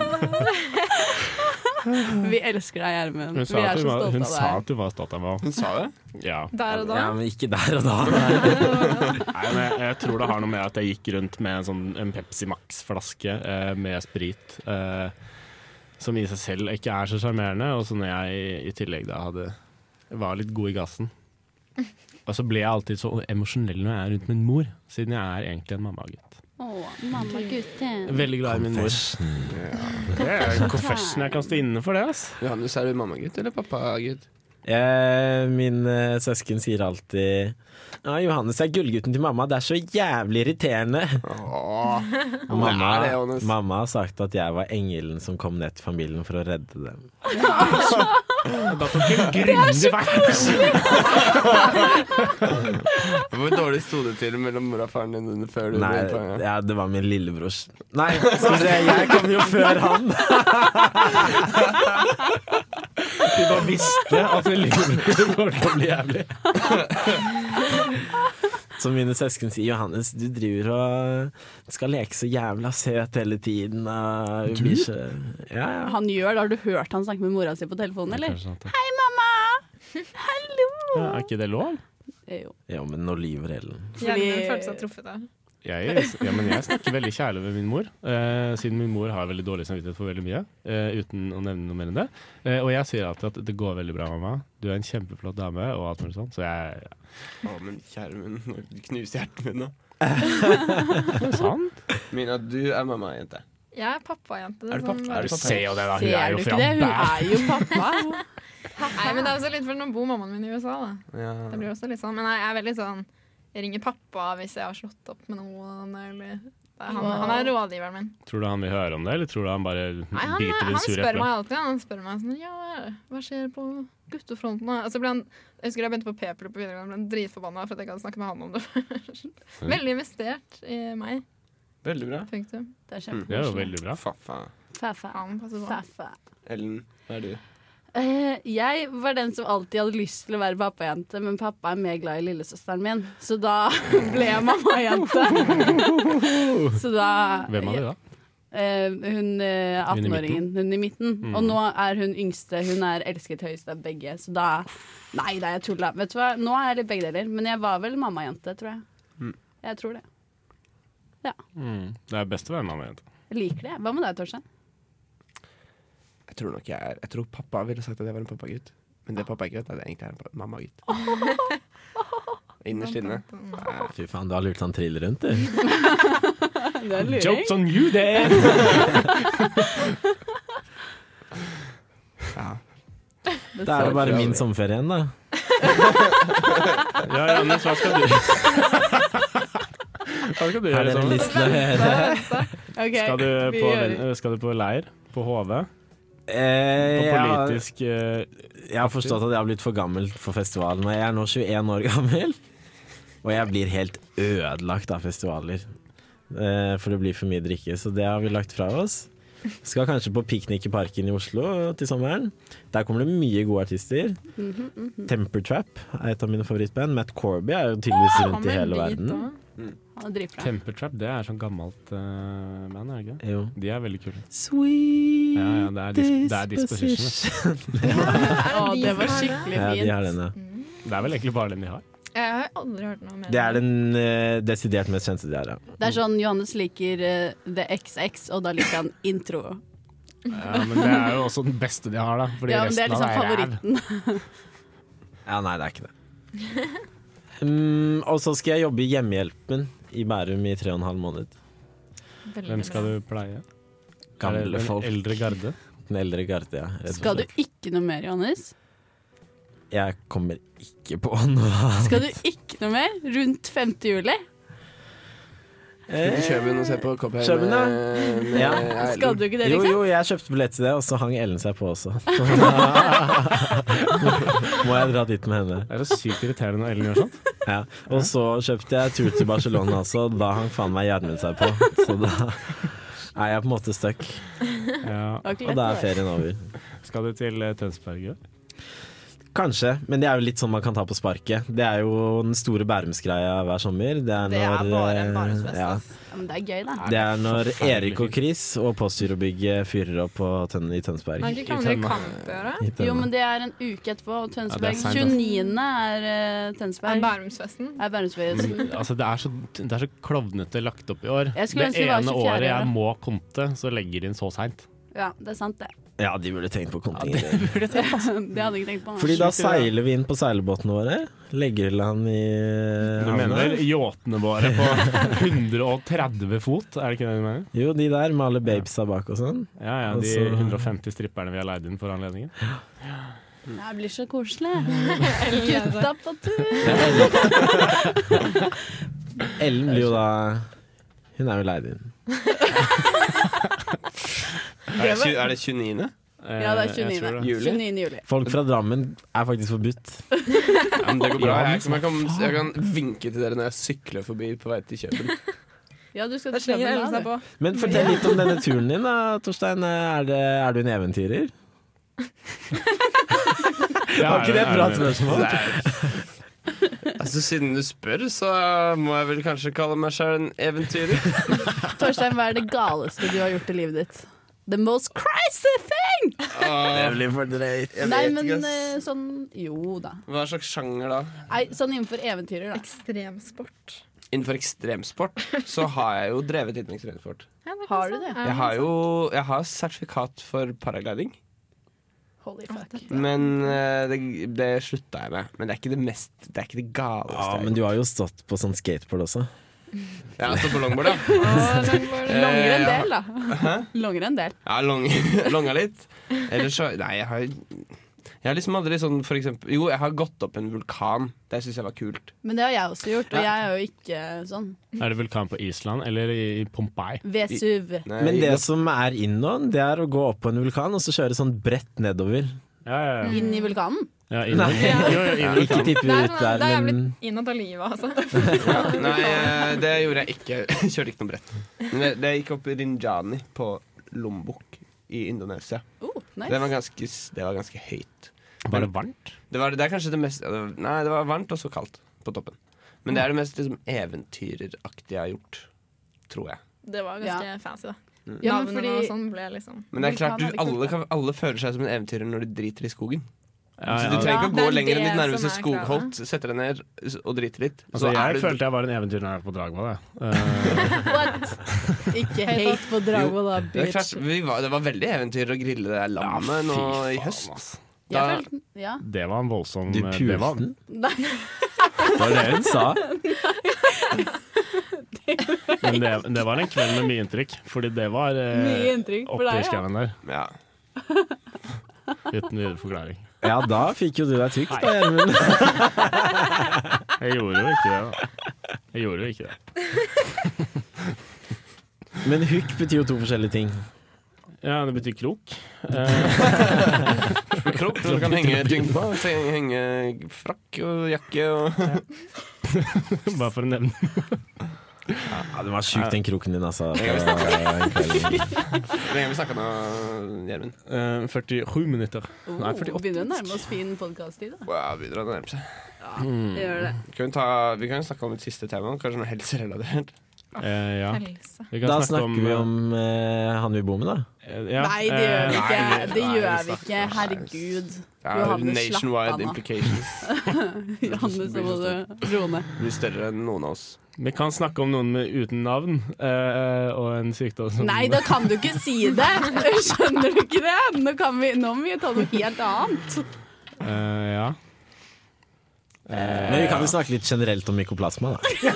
Speaker 2: Vi elsker deg, Gjermund.
Speaker 1: Hun sa,
Speaker 2: Vi
Speaker 1: at
Speaker 2: er
Speaker 1: du
Speaker 2: så
Speaker 1: var, hun
Speaker 2: stolte
Speaker 1: sa
Speaker 2: av deg.
Speaker 1: at du var stolt av meg.
Speaker 5: Hun sa det?
Speaker 1: Ja.
Speaker 3: Der og da.
Speaker 4: Ja, men ikke der og da.
Speaker 1: Nei, men jeg, jeg tror det har noe med at jeg gikk rundt med en, sånn, en Pepsi Max-flaske eh, med sprit. Eh, som i seg selv ikke er så sjarmerende, og så når jeg i tillegg da hadde var litt god i gassen. Og så ble jeg alltid så emosjonell når jeg er rundt min mor, siden jeg er egentlig en mammagutt.
Speaker 2: Å, mamma gutten.
Speaker 1: Veldig glad i min mor. Det er confession jeg kan stå inne for det, ass.
Speaker 5: Johannes, er du mammagutt eller pappagutt?
Speaker 4: Eh, Min eh, søsken sier alltid Ja, Johannes er gullgutten til mamma, det er så jævlig irriterende.
Speaker 5: Åh,
Speaker 4: Mamma,
Speaker 5: det er det, Johannes.
Speaker 4: mamma har sagt at jeg var engelen som kom ned til familien for å redde dem.
Speaker 1: Da tok jeg grundig vekk.
Speaker 5: Hvor dårlig sto det til mellom mor og faren din under før du
Speaker 4: Nei,
Speaker 5: ble faren?
Speaker 4: ja, det var min lillebrors Nei, skal vi se, jeg kom jo før han.
Speaker 1: Du bare visste at det kommer til å bli jævlig.
Speaker 4: Så mine søsken sier Johannes, du driver og skal leke så jævla søt hele tiden. Og du? Blir så, ja, ja.
Speaker 2: Han gjør det. Har du hørt han snakke med mora si på telefonen, eller?
Speaker 1: Hei,
Speaker 2: Mamma! Hallo!
Speaker 1: Er ikke det lov?
Speaker 2: Eh, Jo.
Speaker 4: Jo, men nå lyver Ellen.
Speaker 3: Hjernen min følte seg truffet der.
Speaker 1: Jeg, ja, men jeg snakker veldig kjærlig med min mor, eh, siden min mor har veldig dårlig samvittighet for veldig mye. eh, uten å nevne noe mer enn det. Eh, og jeg sier alltid at det går veldig bra, mamma. Du er en kjempeflott dame, og alt mulig sånt. Så jeg
Speaker 5: Å, men kjære min, nå knuser hjertet mitt nå.
Speaker 1: Det er sant.
Speaker 5: Mina, du er mammajente.
Speaker 3: Jeg er sånn- pappajente.
Speaker 5: Er du pappa? Er
Speaker 1: Du
Speaker 5: du
Speaker 1: ser jo det, da. Hun er jo
Speaker 2: Ser du
Speaker 1: fra
Speaker 2: ikke det? Hun
Speaker 1: Bæ-
Speaker 2: er jo pappa.
Speaker 3: Nei, men det er også litt for nå bor mammaen min i USA, da.
Speaker 5: Ja.
Speaker 3: Det blir også litt sånn. Men jeg er veldig sånn Jeg ringer pappa hvis jeg har slått opp med noen, eller det er han, han er rådgiveren min.
Speaker 1: Tror du han vil høre om det, eller tror du han bare
Speaker 3: Nei, han,
Speaker 1: biter i
Speaker 3: han
Speaker 1: det sure
Speaker 3: spør meg
Speaker 1: eplet?
Speaker 3: alltid. Han spør meg sånn Ja, hva skjer på guttefronten? da?» Og så ble han Jeg husker jeg begynte på p-pille på videregående, ble han dritforbanna for at jeg ikke hadde snakket med han om det først. Veldig investert i meg.
Speaker 5: Veldig bra.
Speaker 3: Punktum.
Speaker 2: Det
Speaker 1: Det
Speaker 2: er
Speaker 1: er jo
Speaker 2: kjempemorsomt.
Speaker 1: veldig bra.
Speaker 5: Faffa.
Speaker 2: Fæfæ.
Speaker 3: Han passer på.
Speaker 2: Fæfæ.
Speaker 5: Ellen, hva er du?
Speaker 2: Eh, jeg var den som alltid hadde lyst til å være pappajente, men pappa er mer glad i lillesøsteren min, så da ble jeg mammajente. Så da
Speaker 1: Hvem av de da?
Speaker 2: Eh, hun eh,
Speaker 1: Hun i midten? Mm.
Speaker 2: 18-åringen, hun i midten. Og nå er hun yngste. Hun er elsket høyest av begge, så da Nei da, jeg tulla. Vet du hva, nå er jeg litt begge deler, men jeg var vel mammajente, tror jeg. Jeg tror det.
Speaker 1: Mm. Det er best å være mammajente.
Speaker 2: Jeg liker det. Hva med deg, Torstein?
Speaker 5: Jeg tror nok jeg er Jeg tror pappa ville sagt at jeg var en pappagutt. Men det pappa ikke vet, er at jeg egentlig er en pa- mammagutt. Innerst inne.
Speaker 4: Fy faen, du har lurt han trill rundt, du.
Speaker 2: Det er
Speaker 1: Jokes on you, det!
Speaker 5: Ja.
Speaker 4: Da er det bare min sommerferie igjen, da.
Speaker 1: Ja, Johannes, hva skal du Hva skal du
Speaker 4: Har
Speaker 1: gjøre
Speaker 4: dere
Speaker 1: sånn?
Speaker 4: lyst til å høre?
Speaker 1: Skal du, på, ven- skal du på leir? På HV? På
Speaker 4: Eh, jeg, har,
Speaker 1: politisk eh,
Speaker 4: jeg har forstått at jeg har blitt for gammel for festivalen. og Jeg er nå 21 år gammel, og jeg blir helt ødelagt av festivaler. Eh, for det blir for mye drikke, så det har vi lagt fra oss. Skal kanskje på piknik i parken i Oslo til sommeren. Der kommer det mye gode artister.
Speaker 2: Mhm,
Speaker 4: Temper Trap er et av mine favorittband. Matt Corby er jo tydeligvis rundt i hele verden.
Speaker 2: Han er dritbra.
Speaker 1: Temper Trap, det er sånn gammelt eh, band, er det ikke?
Speaker 4: Jo.
Speaker 1: De er veldig kule.
Speaker 4: Sweet
Speaker 1: Ja, ja, det er dis- det er disposition,
Speaker 2: Å, det var skikkelig
Speaker 4: Ja, de har
Speaker 2: fint.
Speaker 4: den, ja.
Speaker 1: Det er vel egentlig bare den de har.
Speaker 3: Jeg har aldri hørt noe mer.
Speaker 4: Det er den eh, desidert mest kjente de har, ja.
Speaker 2: Det er sånn Johannes liker eh, The XX, og da liker han intro.
Speaker 1: Ja, men det er jo også den beste de har, da. Fordi
Speaker 2: Ja, men det er
Speaker 1: resten av
Speaker 2: liksom
Speaker 1: det er ræv.
Speaker 2: favoritten.
Speaker 4: Ja, nei, det er ikke det. Mm, og så skal jeg jobbe i Hjemmehjelpen i Bærum i tre og en halv måned.
Speaker 3: Veldig
Speaker 1: Hvem skal
Speaker 3: bra.
Speaker 1: du pleie? Er det
Speaker 4: Gamle
Speaker 1: den
Speaker 4: folk.
Speaker 1: eldre garde?
Speaker 4: Den eldre garde, ja. rett og
Speaker 2: Skal du
Speaker 4: slett.
Speaker 2: ikke noe mer, Johannes?
Speaker 4: Jeg kommer ikke på noe annet.
Speaker 2: Skal du ikke noe mer rundt 5. juli?
Speaker 5: Skal du til Kjøben og se på Copenhagen?
Speaker 4: Kjøben, ja.
Speaker 5: med- med
Speaker 4: Ja.
Speaker 5: Erlend?
Speaker 2: Skal du ikke det,
Speaker 4: Jo,
Speaker 2: liksom?
Speaker 4: jo, jeg kjøpte billett til det, og så hang Ellen seg på også. Så da må jeg dra dit med henne.
Speaker 1: Det er så sykt irriterende når Ellen gjør sånt.
Speaker 4: Ja. Og så kjøpte jeg tur til Barcelona også, og da hang faen meg Gjermund seg på. Så da er jeg på en måte stuck,
Speaker 1: Ja.
Speaker 2: Det var ikke
Speaker 4: og da er
Speaker 2: lett,
Speaker 4: ferien over.
Speaker 1: Skal du til eh, Tønsberg i år?
Speaker 4: Kanskje, men det er jo litt sånn man kan ta på sparket. Det er jo den store bærumsgreia hver sommer. Det er,
Speaker 3: Det er
Speaker 4: når,
Speaker 3: bare en
Speaker 4: eh,
Speaker 3: Bærumsfest,
Speaker 4: ja.
Speaker 3: ass.
Speaker 2: da. Ja, men det er gøy, da.
Speaker 4: Det er når
Speaker 1: Forferdelig
Speaker 4: Erik og
Speaker 1: fint.
Speaker 4: Chris og Postgirobygget fyrer opp på tønnen i Tønsberg.
Speaker 3: Har ikke
Speaker 1: I
Speaker 3: Klamre
Speaker 1: Tønne.
Speaker 3: kamp å gjøre?
Speaker 4: I
Speaker 2: Jo,
Speaker 4: Tønne.
Speaker 2: men det er en uke etterpå. Og Tønsberg
Speaker 1: Ja, det er altså. seint,
Speaker 2: 29. er eh,
Speaker 3: Er
Speaker 2: Tønsberg.
Speaker 3: Bærumsfesten?
Speaker 2: Er Bærumsfjøsen.
Speaker 1: Altså, det er så, det er så klovnete lagt opp i år.
Speaker 2: Jeg skulle
Speaker 1: Det
Speaker 2: ønske det var
Speaker 1: ene
Speaker 2: 24
Speaker 1: året jeg
Speaker 2: året.
Speaker 1: må komme til, så legger de inn så seint.
Speaker 2: Ja, det er sant, det.
Speaker 4: Ja, de burde tenkt på
Speaker 1: det
Speaker 4: kontingent.
Speaker 1: burde jeg tenkt.
Speaker 2: Det hadde altså. jeg ikke tenkt på.
Speaker 4: Fordi da
Speaker 1: Sjukt, ja.
Speaker 4: seiler vi inn på seilbåtene våre. Legger til han i
Speaker 1: Du
Speaker 4: havna.
Speaker 1: mener yachtene våre på 130 fot, er det ikke det du mener?
Speaker 4: Jo, de der med alle babesa bak og sånn.
Speaker 1: Ja ja, de
Speaker 4: Altså-
Speaker 1: 150 stripperne vi har leid inn for anledningen.
Speaker 2: Det blir så koselig. Gutta på tur.
Speaker 4: Ellen blir jo da Hun er jo leid inn.
Speaker 5: Er det, tju- er det 29.?
Speaker 1: Eh,
Speaker 2: Ja, det er
Speaker 1: jeg tror
Speaker 2: 29.
Speaker 1: det.
Speaker 2: 29. juli.
Speaker 4: Folk fra Drammen er faktisk forbudt.
Speaker 5: Ja, men det går bra.
Speaker 1: Ja,
Speaker 5: Jeg, jeg, kan, jeg kan vinke til dere når jeg sykler forbi på vei til Kjøben.
Speaker 2: Ja, du skal
Speaker 3: Der
Speaker 2: til
Speaker 3: slenger Ellen
Speaker 2: København,
Speaker 3: seg
Speaker 2: du.
Speaker 3: på.
Speaker 4: Men fortell litt om denne turen din, da, Torstein. Er, det, er du en eventyrer?
Speaker 1: Ja,
Speaker 4: Var ikke det et bra
Speaker 1: er det-
Speaker 4: spørsmål?
Speaker 5: Altså, siden du spør, så må jeg vel kanskje kalle meg sjøl en eventyrer.
Speaker 2: Torstein, hva er det galeste du har gjort i livet ditt? The most crazy thing!
Speaker 5: Ah,
Speaker 4: blir for drøyt.
Speaker 5: jeg
Speaker 2: Nei,
Speaker 5: vet
Speaker 2: men
Speaker 5: ikke,
Speaker 2: eh,
Speaker 5: ass.
Speaker 2: sånn Jo da.
Speaker 5: Hva slags sjanger da?
Speaker 2: Nei, sånn innenfor eventyrer, da.
Speaker 3: Ekstremsport.
Speaker 5: Innenfor ekstremsport så har jeg jo drevet innen ekstremsport.
Speaker 3: Ja, det kan
Speaker 2: Har
Speaker 3: jeg
Speaker 2: du
Speaker 3: si.
Speaker 2: det?
Speaker 3: Ja,
Speaker 5: Jeg har jo jeg har sertifikat for paragliding,
Speaker 2: Holy fuck.
Speaker 5: men eh, det, det slutta jeg med. Men det er ikke det mest Det er ikke det
Speaker 4: Ja,
Speaker 5: galeste.
Speaker 4: men du har jo stått på sånn skateboard også.
Speaker 5: jeg har stått på longboard, ja.
Speaker 3: Å, langboard.
Speaker 5: Eh,
Speaker 2: Longer en
Speaker 5: jeg har-
Speaker 2: del, da.
Speaker 5: Eh,
Speaker 2: Longer en del.
Speaker 5: Ja, long, longa litt. Ellers så Nei, jeg har Jeg har liksom aldri sånn for eksempel Jo, jeg har gått opp en vulkan. Det syns jeg var kult.
Speaker 2: Men det har jeg også gjort, og
Speaker 5: Ja.
Speaker 2: jeg er jo ikke sånn.
Speaker 1: Er det vulkan på Island eller i i Pompeii?
Speaker 2: Vesuv.
Speaker 5: Nei,
Speaker 4: Men det som er in nå, det er å gå opp på en vulkan og så kjøre sånn bredt nedover.
Speaker 1: Ja, ja, ja.
Speaker 2: Inn i vulkanen.
Speaker 1: ja inn,
Speaker 4: Nei.
Speaker 1: Jo, jo, inn,
Speaker 4: Ikke tippe
Speaker 3: Det er
Speaker 4: ut
Speaker 3: sånn-
Speaker 4: der,
Speaker 3: det er jeg
Speaker 4: men
Speaker 3: blitt innad av livet, altså.
Speaker 5: Nei, eh, det gjorde jeg ikke. Jeg Kjørte ikke noe brett. Men det, det gikk opp i Rinjani på Lombok i Indonesia.
Speaker 2: Oh,
Speaker 5: Det var
Speaker 2: nice.
Speaker 5: ganske, s- det var ganske høyt.
Speaker 1: Var det varmt?
Speaker 5: Det, var, det er kanskje det mest ja, det var- Nei, det var varmt og så kaldt på toppen. Men det er det mest liksom, eventyreraktige jeg har gjort. Tror jeg.
Speaker 3: Det var ganske fancy, da.
Speaker 1: Mm.
Speaker 2: Ja, men
Speaker 3: Navnene
Speaker 2: fordi
Speaker 3: og sånn ble liksom
Speaker 5: Men det er klart,
Speaker 2: Vulkan er
Speaker 5: du,
Speaker 2: det
Speaker 5: alle,
Speaker 2: kult,
Speaker 5: kan, alle føler seg som en eventyrer når de driter i skogen.
Speaker 1: Ja,
Speaker 5: Så
Speaker 1: ja.
Speaker 5: du trenger ikke å gå
Speaker 3: Ja, det er
Speaker 5: lenger enn ditt
Speaker 3: det
Speaker 5: nærmeste
Speaker 3: som er kravet.
Speaker 5: skogholt. Setter deg ned og driter litt. Så
Speaker 1: Altså,
Speaker 5: er
Speaker 1: jeg
Speaker 5: du
Speaker 1: følte jeg var en eventyr når jeg var på Dragvoll. jeg. Eh,
Speaker 2: What? Ikke hate på Dragvoll, da,
Speaker 5: det, er klart,
Speaker 2: bitch.
Speaker 5: vi var, det var veldig eventyr å grille det der lammet nå
Speaker 1: fy
Speaker 5: i
Speaker 1: faen,
Speaker 5: høst.
Speaker 1: ass.
Speaker 2: Jeg
Speaker 5: Da-
Speaker 2: følte Ja.
Speaker 1: Det var en voldsom
Speaker 4: du
Speaker 1: eh, det
Speaker 4: pulte
Speaker 1: var-
Speaker 4: den.
Speaker 2: Nei.
Speaker 4: Det var det hun sa.
Speaker 1: Men det, det var en kveld med mye inntrykk, fordi det var
Speaker 2: Mye
Speaker 1: eh,
Speaker 2: inntrykk for
Speaker 1: oppi
Speaker 2: deg, ja.
Speaker 1: skauen der.
Speaker 5: Ja.
Speaker 1: Uten videre forklaring.
Speaker 4: Ja, da fikk jo du deg tykt, da, Gjermund.
Speaker 1: Jeg gjorde jo ikke det, da. Jeg gjorde jo ikke det.
Speaker 4: Men hook betyr jo to forskjellige ting.
Speaker 1: Ja, det betyr krok. Eh,
Speaker 5: Krok som du kan henge ting på. Henge- Henge frakk og jakke og
Speaker 1: bare for å nevne
Speaker 4: Ja, Det var sjukt, den kroken din, altså.
Speaker 5: Ja, vi
Speaker 4: På-
Speaker 5: Hvor lenge har vi snakka nå, Gjermund?
Speaker 1: eh, 47 minutter.
Speaker 2: Oh,
Speaker 1: Nei, 48.
Speaker 2: Begynner å nærme oss fin podkast-tid, da.
Speaker 5: Wow, begynner å nærme seg.
Speaker 2: Gjør det.
Speaker 5: Kan vi, ta, vi kan snakke om et siste tema, kanskje noe helserelatert.
Speaker 1: Eh, ja.
Speaker 3: helse.
Speaker 1: Vi kan
Speaker 4: Da
Speaker 1: snakke
Speaker 4: snakker vi om eh, han vi bor med, da.
Speaker 1: eh, ja,
Speaker 2: Nei, det gjør
Speaker 1: eh,
Speaker 2: vi ikke.
Speaker 5: nei,
Speaker 2: Det
Speaker 5: nei,
Speaker 2: gjør vi
Speaker 5: vi
Speaker 2: ikke.
Speaker 5: snakker-
Speaker 2: Herregud.
Speaker 5: Det er
Speaker 2: Johannes, slapp av
Speaker 5: nationwide
Speaker 2: nå.
Speaker 5: implications.
Speaker 2: Johannes, nå må du roe ned.
Speaker 5: Det blir større enn noen av oss.
Speaker 1: Vi kan snakke om noen med, uten navn eh, og en sykdom som
Speaker 2: Nei, da kan du ikke si det! Skjønner du ikke det? Nå, kan vi, nå må vi ta noe helt annet.
Speaker 1: Eh, ja.
Speaker 4: Eh,
Speaker 1: Eh,
Speaker 4: Men vi kan jo snakke litt generelt om mykoplasma, da.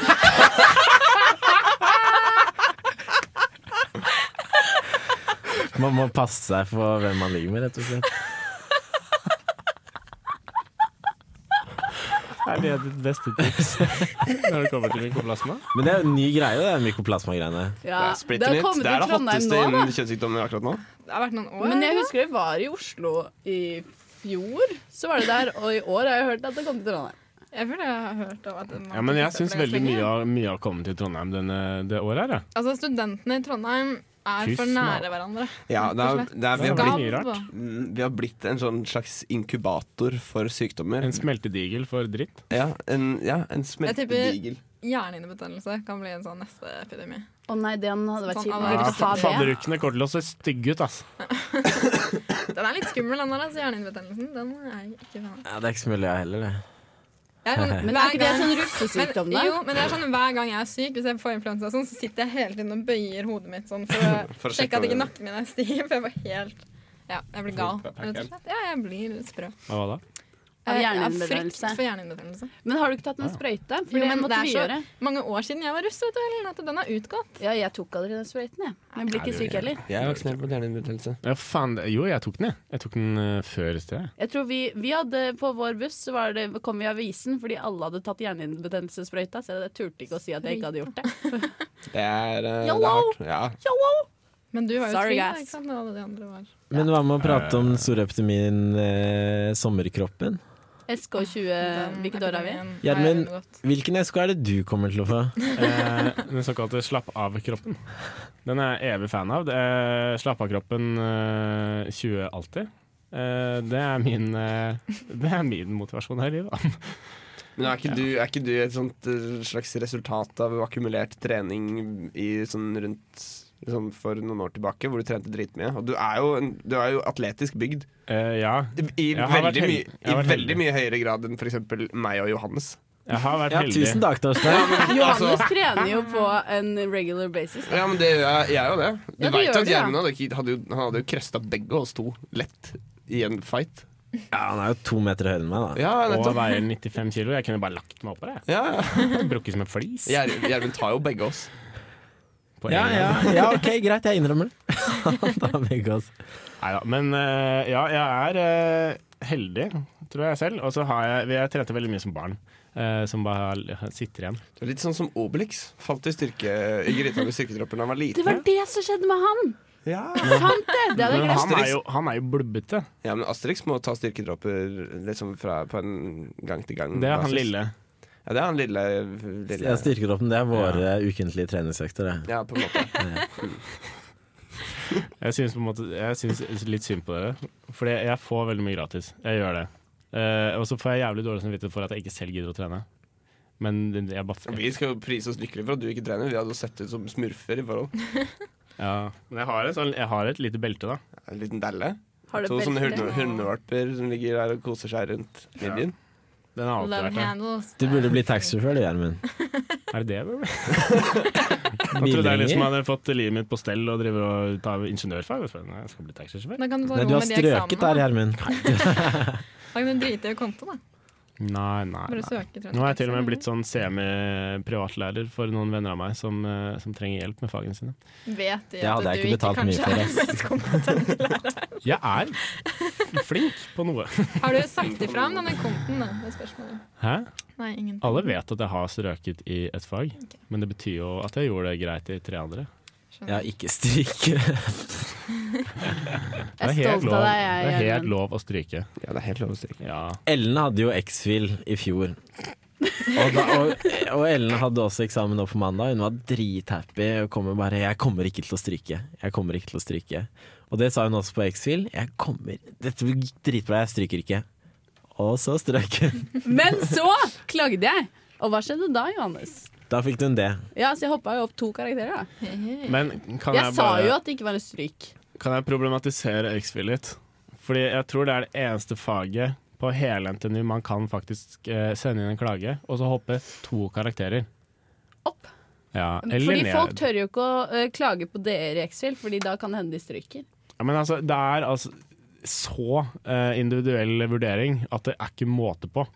Speaker 4: Man må passe seg for hvem man ligger med, rett og slett.
Speaker 1: Er det ditt beste tips når det kommer til mykoplasma?
Speaker 4: Men det er jo en ny greie, det er mykoplasma-greiene.
Speaker 2: Ja,
Speaker 5: det er
Speaker 2: det
Speaker 5: splitter
Speaker 2: har
Speaker 5: nytt.
Speaker 2: kommet
Speaker 5: Det
Speaker 2: til
Speaker 5: er det
Speaker 2: Trondheim
Speaker 5: hotteste
Speaker 2: nå, da.
Speaker 5: innen kjønnssykdommer akkurat nå.
Speaker 3: Det har vært noen år.
Speaker 2: Men jeg husker det var i Oslo i fjor. Så var det der, og i år har jeg hørt at det kom til Trondheim.
Speaker 3: Jeg føler jeg har hørt om at man
Speaker 1: Ja, men jeg
Speaker 3: ikke
Speaker 1: syns
Speaker 3: føler det
Speaker 1: veldig
Speaker 3: ganske
Speaker 1: mye
Speaker 3: lenge.
Speaker 1: har, mye har kommet til Trondheim denne, det året her, jeg.
Speaker 3: Altså, studentene i Trondheim er
Speaker 1: Fy
Speaker 3: for
Speaker 1: snap.
Speaker 3: nære hverandre.
Speaker 5: Ja, det er, det er, vi, har
Speaker 1: Det
Speaker 5: blitt,
Speaker 1: blir mye
Speaker 3: Skabb.
Speaker 1: rart.
Speaker 5: mm, vi har blitt en sånn slags inkubator for sykdommer.
Speaker 1: En smeltedigel for dritt.
Speaker 5: Ja, en, ja, en
Speaker 3: Jeg
Speaker 5: smeltedigel.
Speaker 3: Hjernehinnebetennelse kan bli en sånn neste epidemi.
Speaker 2: Å nei, den hadde vært
Speaker 3: Sånn
Speaker 2: kjipt.
Speaker 3: allerede.
Speaker 2: Når du sa det.
Speaker 1: Fadderukene kommer til å se stygge ut, ass.
Speaker 3: Den er litt skummel, den der. Altså, Hjernehinnebetennelsen den er jeg ikke fan av.
Speaker 4: Ja, det er ikke så mulig, jeg heller, det.
Speaker 3: Jeg er sånn,
Speaker 2: Men
Speaker 3: hver
Speaker 2: er ikke det
Speaker 3: gang-
Speaker 2: sånn
Speaker 3: men,
Speaker 2: russesykdom, da?
Speaker 3: jo, men det er sånn, Hver gang jeg er syk, hvis jeg får influensa, og sånn, så sitter jeg hele tiden og bøyer hodet mitt sånn for å,
Speaker 5: For å
Speaker 3: sjekke
Speaker 5: sjekke
Speaker 3: at ikke
Speaker 5: om-
Speaker 3: nakken min er stiv. For jeg var helt Jeg Ja, jeg blir gal,
Speaker 5: Fort-
Speaker 3: rett og slett. Ja, jeg blir sprø.
Speaker 1: Hva var det?
Speaker 2: Av
Speaker 3: Eh,
Speaker 2: hjerneinnbetennelse.
Speaker 3: Frykt for hjerneinnbetennelse.
Speaker 2: Men har du ikke tatt en sprøyte? For
Speaker 3: Jo,
Speaker 2: det
Speaker 3: men
Speaker 2: måtte
Speaker 3: det er
Speaker 2: vi
Speaker 3: så-
Speaker 2: gjøre.
Speaker 3: Mange år siden jeg var russ, vet du, Helen, at den er utgått.
Speaker 2: Ja, jeg tok aldri den sprøyten, jeg. Men jeg blir ikke syk heller.
Speaker 5: Jeg er vaksinert mot hjernebetennelse.
Speaker 1: Ja, faen, det- jo, jeg tok den, jeg. Jeg tok den eh, før et sted.
Speaker 2: Jeg tror vi, vi hadde På vår buss så var det, kom vi i avisen fordi alle hadde tatt hjerneinnbetennelsessprøyta. Så jeg turte ikke å si at jeg ikke hadde gjort det.
Speaker 5: Det er, eh, det er
Speaker 2: Yolo!
Speaker 5: hardt. Ja.
Speaker 3: Men du var jo
Speaker 2: Sorry,
Speaker 3: fri, da,
Speaker 2: guys.
Speaker 3: ikke sant? Når alle de andre var.
Speaker 4: Men hva med å prate om den store epidemien eh, sommerkroppen?
Speaker 2: SK20 Eh, Hvilket år er vi?
Speaker 4: Gjermund. Hvilken SK er det du kommer til å få?
Speaker 1: Eh, den såkalte slapp av-kroppen. Den er jeg evig fan av. Det er Slapp av-kroppen eh, 20 alltid. Eh, det, er min, eh, det er min motivasjon her i livet. da.
Speaker 5: Men er ikke, du, er ikke du et sånt eh, slags resultat av akkumulert trening i sånn rundt Sånn for noen år tilbake, hvor du trente dritmye? Og du er jo, en, du er jo atletisk bygd.
Speaker 1: Eh, ja.
Speaker 5: I
Speaker 1: Jeg har vært
Speaker 5: veldig,
Speaker 1: heldig.
Speaker 5: mye-
Speaker 1: Jeg har
Speaker 5: i
Speaker 1: vært
Speaker 5: veldig
Speaker 1: heldig.
Speaker 5: mye høyere grad enn f.eks. meg og Johannes. Altså,
Speaker 1: Jeg har vært
Speaker 4: Ja,
Speaker 1: heldig.
Speaker 4: tusen takk, Torstein.
Speaker 1: altså-
Speaker 2: Johannes trener jo på en regular basis.
Speaker 5: Ja, men det gjør jeg, jeg er jo det. Du
Speaker 2: Ja, du
Speaker 5: vet
Speaker 2: gjør
Speaker 5: at
Speaker 2: det, ja.
Speaker 5: Gjermund hadde, ikke- hadde, jo- han hadde jo krøsta begge oss to lett i en fight.
Speaker 4: Ja, han er jo to meter høyere enn meg, da.
Speaker 5: Ja,
Speaker 1: Og
Speaker 5: nettopp.
Speaker 1: veier 95 kilo. Jeg kunne bare lagt meg oppå det.
Speaker 5: Ja, ja.
Speaker 1: Brukket som en flis.
Speaker 5: Gjer- Gjermund tar jo begge oss.
Speaker 1: på en
Speaker 4: Ja,
Speaker 1: gang.
Speaker 4: ja, ja, ok, greit, jeg innrømmer det. Da er vi ikke oss.
Speaker 1: Neida, Men eh, ja, jeg er eh, heldig, tror jeg selv. Og så har jeg Jeg trente veldig mye som barn, eh, som bare har- sitter igjen.
Speaker 5: Det er litt sånn som Obelix. Falt i styrke i gryta med styrketroppen da han var
Speaker 2: Det
Speaker 5: liten.
Speaker 2: var det som skjedde med han!
Speaker 5: Ja.
Speaker 2: Sant det! Det hadde jeg
Speaker 1: Men
Speaker 2: glemt.
Speaker 1: han er jo, han er jo blubbete.
Speaker 5: ja, men Asterix må ta styrkedråper liksom fra, på en gang til
Speaker 4: Mm,
Speaker 5: gang.
Speaker 1: Det er han
Speaker 5: basis.
Speaker 1: lille.
Speaker 5: Ja, det er han lille.
Speaker 4: Jeg
Speaker 5: lille.
Speaker 4: styrker opp den, det er våre ukentlige treningsøkter, det.
Speaker 5: Ja, på en måte.
Speaker 1: Jeg syns, på en måte, jeg syns litt synd på dere, for jeg får veldig mye gratis. Jeg gjør det. Eh, og så får jeg jævlig dårlig samvittighet for at jeg ikke selv gidder å trene. Men jeg bare
Speaker 5: Vi skal jo prise oss lykkelige for at du ikke trener. Vi hadde jo sett ut som smurfer i forhold.
Speaker 1: ja. Men jeg har, et sånn, jeg har et lite belte, da.
Speaker 5: En liten delle.
Speaker 2: Har du
Speaker 5: To sånne
Speaker 2: belte?
Speaker 5: hunde, hundevalper som ligger der og koser seg rundt midjen.
Speaker 1: Den har alltid
Speaker 3: Love
Speaker 1: vært der.
Speaker 3: handles.
Speaker 4: Du burde bli taxisjåfør, du, Gjermund.
Speaker 1: Er det det, baby? Jeg trodde jeg liksom hadde fått livet mitt på stell og driver og tar ingeniørfag. Og så, nei, jeg skal bli taxisjåfør.
Speaker 3: Da kan du ta
Speaker 4: Nei, du
Speaker 3: ro
Speaker 4: har
Speaker 3: med de
Speaker 4: strøket der,
Speaker 3: eksamene.
Speaker 4: Gjermund.
Speaker 3: Da kan du drite i konto, da.
Speaker 1: Nei, nei,
Speaker 3: Bare
Speaker 1: nei.
Speaker 3: søke.
Speaker 1: Nå har jeg til og med blitt sånn semi-privatlærer for noen venner av meg som, eh, som trenger hjelp med fagene sine.
Speaker 3: Vet de
Speaker 4: Det
Speaker 3: at
Speaker 4: hadde jeg
Speaker 3: du
Speaker 4: ikke betalt mye
Speaker 3: kanskje
Speaker 4: for,
Speaker 3: er
Speaker 4: ass.
Speaker 3: den mest kompetente læreren?
Speaker 1: Jeg er flink på noe.
Speaker 3: Har du sagt ifra om denne konten, da? Det er spørsmålet.
Speaker 1: Hæ?
Speaker 3: Nei, ingenting.
Speaker 1: Alle vet at jeg har strøket i et fag,
Speaker 3: Ok.
Speaker 1: men det betyr jo at jeg gjorde det greit i tre andre.
Speaker 4: Ja, ikke stryke.
Speaker 1: Det er
Speaker 2: Jeg er
Speaker 1: helt
Speaker 2: stolt
Speaker 1: lov,
Speaker 2: av
Speaker 1: det
Speaker 2: deg, jeg.
Speaker 1: er helt
Speaker 2: Gjermund.
Speaker 1: lov å stryke.
Speaker 5: Ja, det er helt lov å stryke.
Speaker 1: Ja.
Speaker 4: Ellen hadde jo X-Fil i fjor. Og, da, og, og Ellen hadde også eksamen nå på mandag. Hun var drithappy og kommer bare 'Jeg kommer ikke til å stryke'. Jeg kommer ikke til å stryke. Og det sa hun også på X-Fil. 'Jeg kommer Dette gikk dritbra, jeg stryker ikke'. Og så strøk hun.
Speaker 2: Men så klagde jeg! Og hva skjedde da, Johannes?
Speaker 4: Da fikk hun det.
Speaker 2: Ja, så jeg hoppa jo opp to karakterer, da.
Speaker 1: Men kan jeg,
Speaker 2: Jeg sa jo
Speaker 1: bare,
Speaker 2: at det ikke var en stryk.
Speaker 1: kan jeg problematisere X-Fil litt? Fordi jeg tror det er det eneste faget på hele NTNU man kan faktisk eh, sende inn en klage, og så hoppe to karakterer.
Speaker 2: Opp.
Speaker 1: Ja, eller
Speaker 2: Fordi
Speaker 1: ned.
Speaker 2: folk tør jo ikke å eh, klage på dere i X-Fil, Fordi da kan det hende de stryker.
Speaker 1: Ja, men altså, det er altså så eh, individuell vurdering at det er ikke måte på.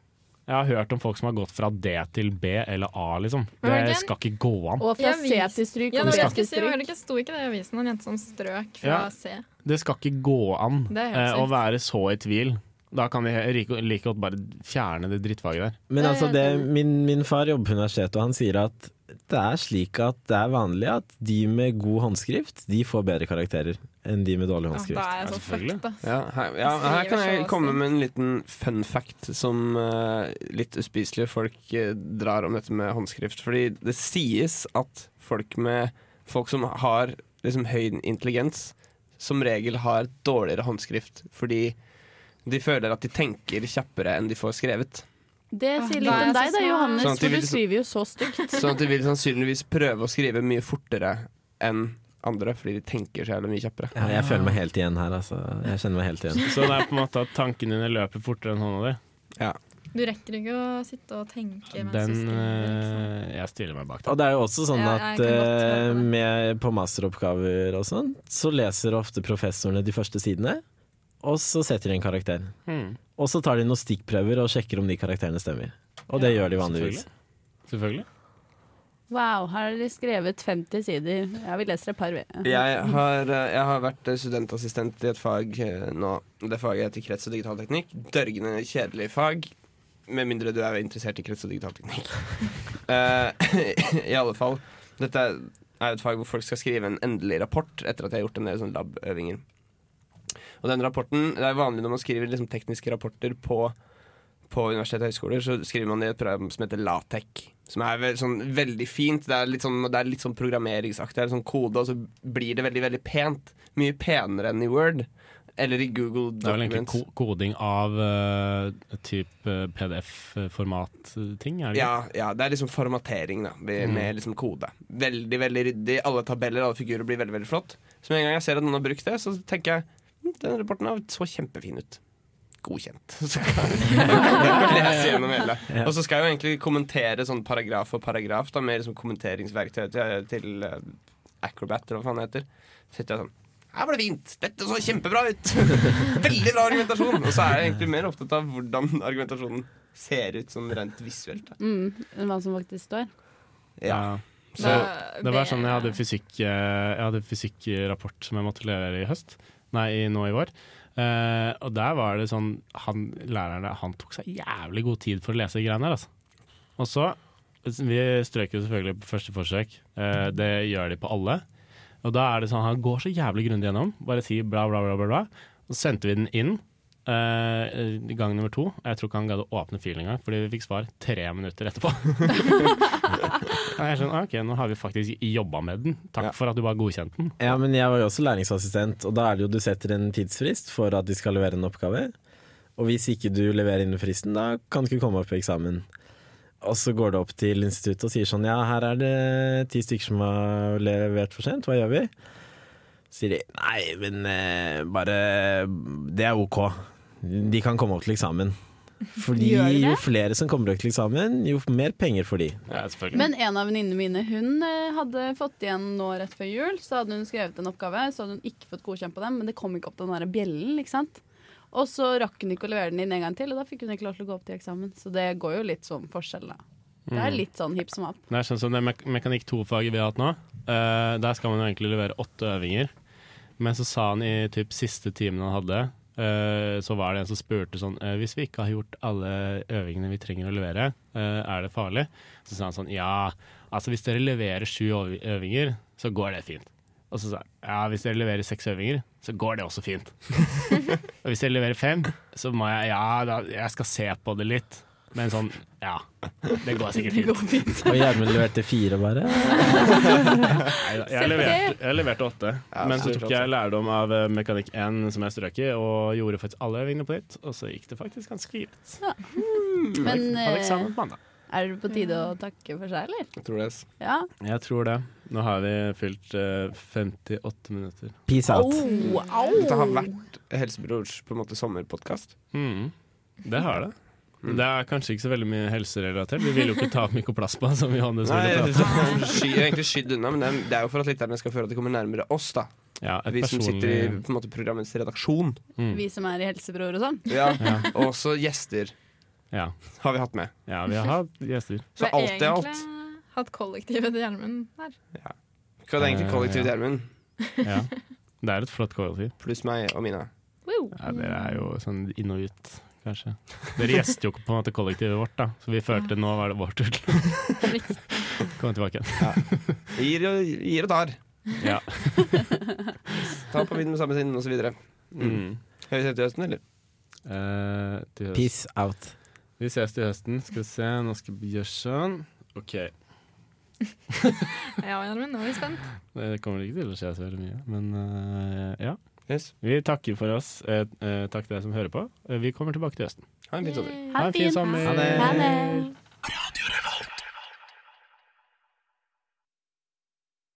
Speaker 1: Jeg har hørt om folk som har gått fra D til B eller A, liksom.
Speaker 3: Men var det
Speaker 1: Det
Speaker 3: ikke en-
Speaker 1: skal ikke gå an.
Speaker 2: Og fra
Speaker 3: Jeg
Speaker 2: C
Speaker 3: vis-
Speaker 2: til stryk.
Speaker 3: Ja,
Speaker 2: og
Speaker 3: det var det
Speaker 2: B
Speaker 3: jeg
Speaker 2: til
Speaker 3: skulle si, var
Speaker 2: stryk.
Speaker 3: det ikke, sto ikke det i avisen? En jente som strøk fra
Speaker 1: Ja.
Speaker 3: C.
Speaker 1: Det skal ikke gå an
Speaker 3: Det er helt
Speaker 1: eh, å
Speaker 3: sykt.
Speaker 1: være så i tvil. Da kan de like, like godt bare fjerne det drittfaget der.
Speaker 4: Men
Speaker 3: Eh,
Speaker 2: Nei,
Speaker 4: altså,
Speaker 2: jeg er
Speaker 4: det,
Speaker 2: enig.
Speaker 4: min, min far jobber på universitetet, og han sier at det er slik at det er vanlig at de med god håndskrift, de får bedre karakterer enn de med
Speaker 3: Ja,
Speaker 4: dårlig håndskrift.
Speaker 3: da er
Speaker 1: Ja,
Speaker 3: jeg så
Speaker 1: selvfølgelig.
Speaker 3: fucked, ass.
Speaker 5: Ja, her, ja,
Speaker 3: Altså, Jeg skriver
Speaker 5: her kan
Speaker 3: så
Speaker 5: jeg
Speaker 3: også.
Speaker 5: komme med en liten fun fact som eh, litt uspiselige folk eh, drar om dette med håndskrift. Fordi det sies at folk, med, folk som har liksom, høy intelligens, som regel har dårligere håndskrift fordi de føler at de tenker kjappere enn de får skrevet.
Speaker 2: Det sier
Speaker 3: Da
Speaker 2: litt
Speaker 3: er
Speaker 2: om
Speaker 3: jeg så
Speaker 2: deg da,
Speaker 3: smart.
Speaker 2: Johannes,
Speaker 5: Sånn at de
Speaker 2: for
Speaker 5: vil
Speaker 2: du
Speaker 5: så-
Speaker 2: skriver jo så stygt.
Speaker 5: Sånn at de vil sannsynligvis prøve å skrive mye fortere enn andre fordi de tenker så jævlig mye kjappere.
Speaker 4: Ja, jeg føler meg helt igjen her, altså. Jeg kjenner meg helt igjen.
Speaker 1: Så det er på en måte at tankene dine løper fortere enn hånda di.
Speaker 3: Du rekker ikke å sitte og tenke mens
Speaker 1: Den
Speaker 3: du skriver. Liksom.
Speaker 1: eh, Jeg stiller meg bak den.
Speaker 4: Og det er jo også sånn
Speaker 3: Ja, jeg
Speaker 4: at
Speaker 3: kan godt være
Speaker 4: eh,
Speaker 3: med på det.
Speaker 4: med, på masteroppgaver og sånn, så leser ofte professorene de første sidene, og så setter de en karakter.
Speaker 1: Hmm.
Speaker 4: Og så tar de noen stikkprøver og sjekker om de karakterene stemmer. Og det gjør de vanligvis.
Speaker 1: Selvfølgelig.
Speaker 2: Wow, her har dere skrevet 50 sider. Ja, vi leser et par. ved.
Speaker 5: Jeg har, eh, jeg har vært eh, studentassistent i et fag eh, nå. Det faget heter krets- og digitalteknikk. Dørgende kjedelig fag. Med mindre du er interessert i krets- og digitalteknikk. Eh, I alle fall. Dette er er jo et fag hvor folk skal skrive en endelig rapport etter at de har gjort en del sånne labøvinger. Og den rapporten, Det er vanlig når man skriver liksom tekniske rapporter på, på universitet og høyskoler, så skriver man i et program som heter LaTeX. Som er vel, sånn, veldig fint. Det er litt sånn, det er litt sånn programmeringsaktig. Det er sånn kode, og så blir det veldig veldig pent. Mye penere enn i Word. Eller i Google
Speaker 1: Det er vel egentlig
Speaker 5: Documents.
Speaker 1: ko koding av uh, type PDF-format-ting, eh, er det ikke? Mm.
Speaker 5: Ja, ja, det er liksom formatering da med, med liksom kode. Veldig veldig ryddig. Alle tabeller alle figurer blir veldig veldig flott. Så med en gang jeg ser at noen har brukt det, så tenker jeg "Hm, den rapporten her så kjempefin ut. Godkjent. Så kan jeg kan lese gjennom hele. Og så skal jeg jo egentlig kommentere sånn paragraf for paragraf da med liksom kommenteringsverktøy til, til eh, Acrobat, eller hva faen det heter. Så sitter jeg sånn her var det fint! Dette så kjempebra ut! Veldig bra argumentasjon! Og så er jeg egentlig mer opptatt av hvordan argumentasjonen ser ut sånn rent visuelt. Da.
Speaker 2: Mm, hva som faktisk står.
Speaker 5: Ja.
Speaker 1: Så det var sånn jeg hadde fysikk eh, Jeg hadde fysikkrapport som jeg måtte levere i høst. Nei, i- nå i vår. Eh, og der var det sånn han, Læreren der, han tok seg jævlig god tid for å lese de greiene der, altså. Og så Vi strøk jo selvfølgelig på første forsøk. Eh, det gjør de på alle. Og da er det sånn Han går så jævlig grundig gjennom. Bare sier bla, bla, bla, bla. bla. Og så sendte vi den inn. eh, gang nummer to. Jeg tror ikke han gadd å åpne filen engang, fordi vi fikk svar tre minutter etterpå. Nei, jeg skjønner, ok, Nå har vi faktisk jobba med den. Takk
Speaker 5: Ja.
Speaker 1: for at du bare godkjente den.
Speaker 4: Ja, men jeg var jo også læringsassistent, og da er det jo du setter en tidsfrist for at de skal levere en oppgave. Og hvis ikke du leverer innen fristen, da kan du ikke komme opp på eksamen. Og så går det opp til instituttet og sier sånn ja, her er det ti stykker som har levert for sent, hva gjør vi? Så sier de nei, men eh, bare det er ok. De kan komme opp til eksamen. Fordi
Speaker 2: Gjør de det?
Speaker 4: jo flere som kommer opp til eksamen, jo mer penger får de.
Speaker 1: Ja, selvfølgelig.
Speaker 2: Men en av venninnene mine Hun eh, hadde fått igjen nå rett før jul. Så hadde hun skrevet en oppgave, så hadde hun ikke fått godkjent på den. Men det kom ikke opp den der bjellen. ikke sant? Og så rakk hun ikke å levere den inn en gang til, og da fikk hun ikke lov til å gå opp til eksamen. Så det går jo litt sånn forskjell, da. Det
Speaker 5: Mm.
Speaker 2: er litt sånn hipp som happ.
Speaker 1: Det er sånn som det mek mekanikk 2-faget vi har hatt nå. eh, der skal man jo egentlig levere åtte øvinger. Men så sa han i typ siste timen han hadde, eh, så var det en som spurte sånn eh, Hvis vi ikke har gjort alle øvingene vi trenger å levere, eh, er det farlig? Så sa han sånn Ja, altså hvis dere leverer sju øv- øvinger, så går det fint. Og så sa han ja, hvis dere leverer seks øvinger, så går det også fint. Og hvis dere leverer fem, så må jeg Ja, da, jeg skal se på det litt. Men sånn Ja, det går sikkert fint.
Speaker 2: Det går fint.
Speaker 4: Og Gjermund leverte fire, bare.
Speaker 1: Neida,
Speaker 2: Se
Speaker 1: jeg,
Speaker 2: på
Speaker 1: leverte, jeg leverte åtte,
Speaker 5: Ja,
Speaker 1: men så
Speaker 5: leverte
Speaker 1: tok
Speaker 5: åtte.
Speaker 1: jeg lærdom av eh, Mekanikk 1 som jeg strøk i, og gjorde faktisk alle øvingene på nytt. Og så gikk det faktisk ganske gitt.
Speaker 2: Men
Speaker 1: Hadde
Speaker 2: eh,
Speaker 1: eksamen på mandag.
Speaker 2: er det på tide
Speaker 5: Mm.
Speaker 2: å takke for seg, eller?
Speaker 5: Jeg tror det.
Speaker 2: Ja.
Speaker 1: Jeg tror det. Nå har vi fylt eh, 58 minutter.
Speaker 4: Peace out.
Speaker 2: Oh, au!
Speaker 5: Dette har vært Helsebrors på en måte sommerpodkast.
Speaker 1: Mm. Det har det. Men Det er kanskje ikke så veldig mye helserelatert. Vi ville jo ikke ta opp mykoplasma, som Johannes
Speaker 5: Nei,
Speaker 1: ville
Speaker 5: jeg
Speaker 1: prate om.
Speaker 5: sky, jeg er egentlig skydd unna, men det er, det er jo for at lytterne skal føle at de kommer nærmere oss, da.
Speaker 1: Ja, et
Speaker 5: Vi som sitter i
Speaker 1: personlig
Speaker 5: på en måte, programmets redaksjon.
Speaker 1: mm.
Speaker 2: Vi som er i helsebror og sånn.
Speaker 5: Ja. Og også gjester
Speaker 1: ja.
Speaker 5: har vi hatt med.
Speaker 1: ja, vi har hatt gjester.
Speaker 5: Så alt i alt
Speaker 3: Hatt kollektivet til Gjermund her.
Speaker 5: Hva er det egentlig kollektivt,
Speaker 1: Eh,
Speaker 5: Gjermund?
Speaker 1: Ja. Det er et flott kollektiv.
Speaker 5: Pluss meg og Mina.
Speaker 3: Wow.
Speaker 1: Ja, dere er jo sånn inn og ut, kanskje. Dere gjester jo på en måte kollektivet vårt, da, så vi følte nå var det vår tur til å komme tilbake.
Speaker 5: Gir og, gir og tar.
Speaker 1: Ja.
Speaker 5: Ta på vinden med samme sinn, osv. Mm. Skal vi se til høsten, eller?
Speaker 1: Eh, til høsten.
Speaker 4: Peace out.
Speaker 1: Vi ses til høsten. Skal vi se, nå skal vi gjøre sånn. OK.
Speaker 3: Ja, Gjermund, nå er vi spent.
Speaker 1: Det kommer ikke til å skje så veldig mye, men eh, ja.
Speaker 5: Yes.
Speaker 1: Vi takker for oss. Eh, eh, takk til deg som hører på. Eh, vi kommer tilbake til høsten.
Speaker 5: Ha en fin sommer.
Speaker 2: Ha det fint.
Speaker 1: sommer.
Speaker 2: Ha det.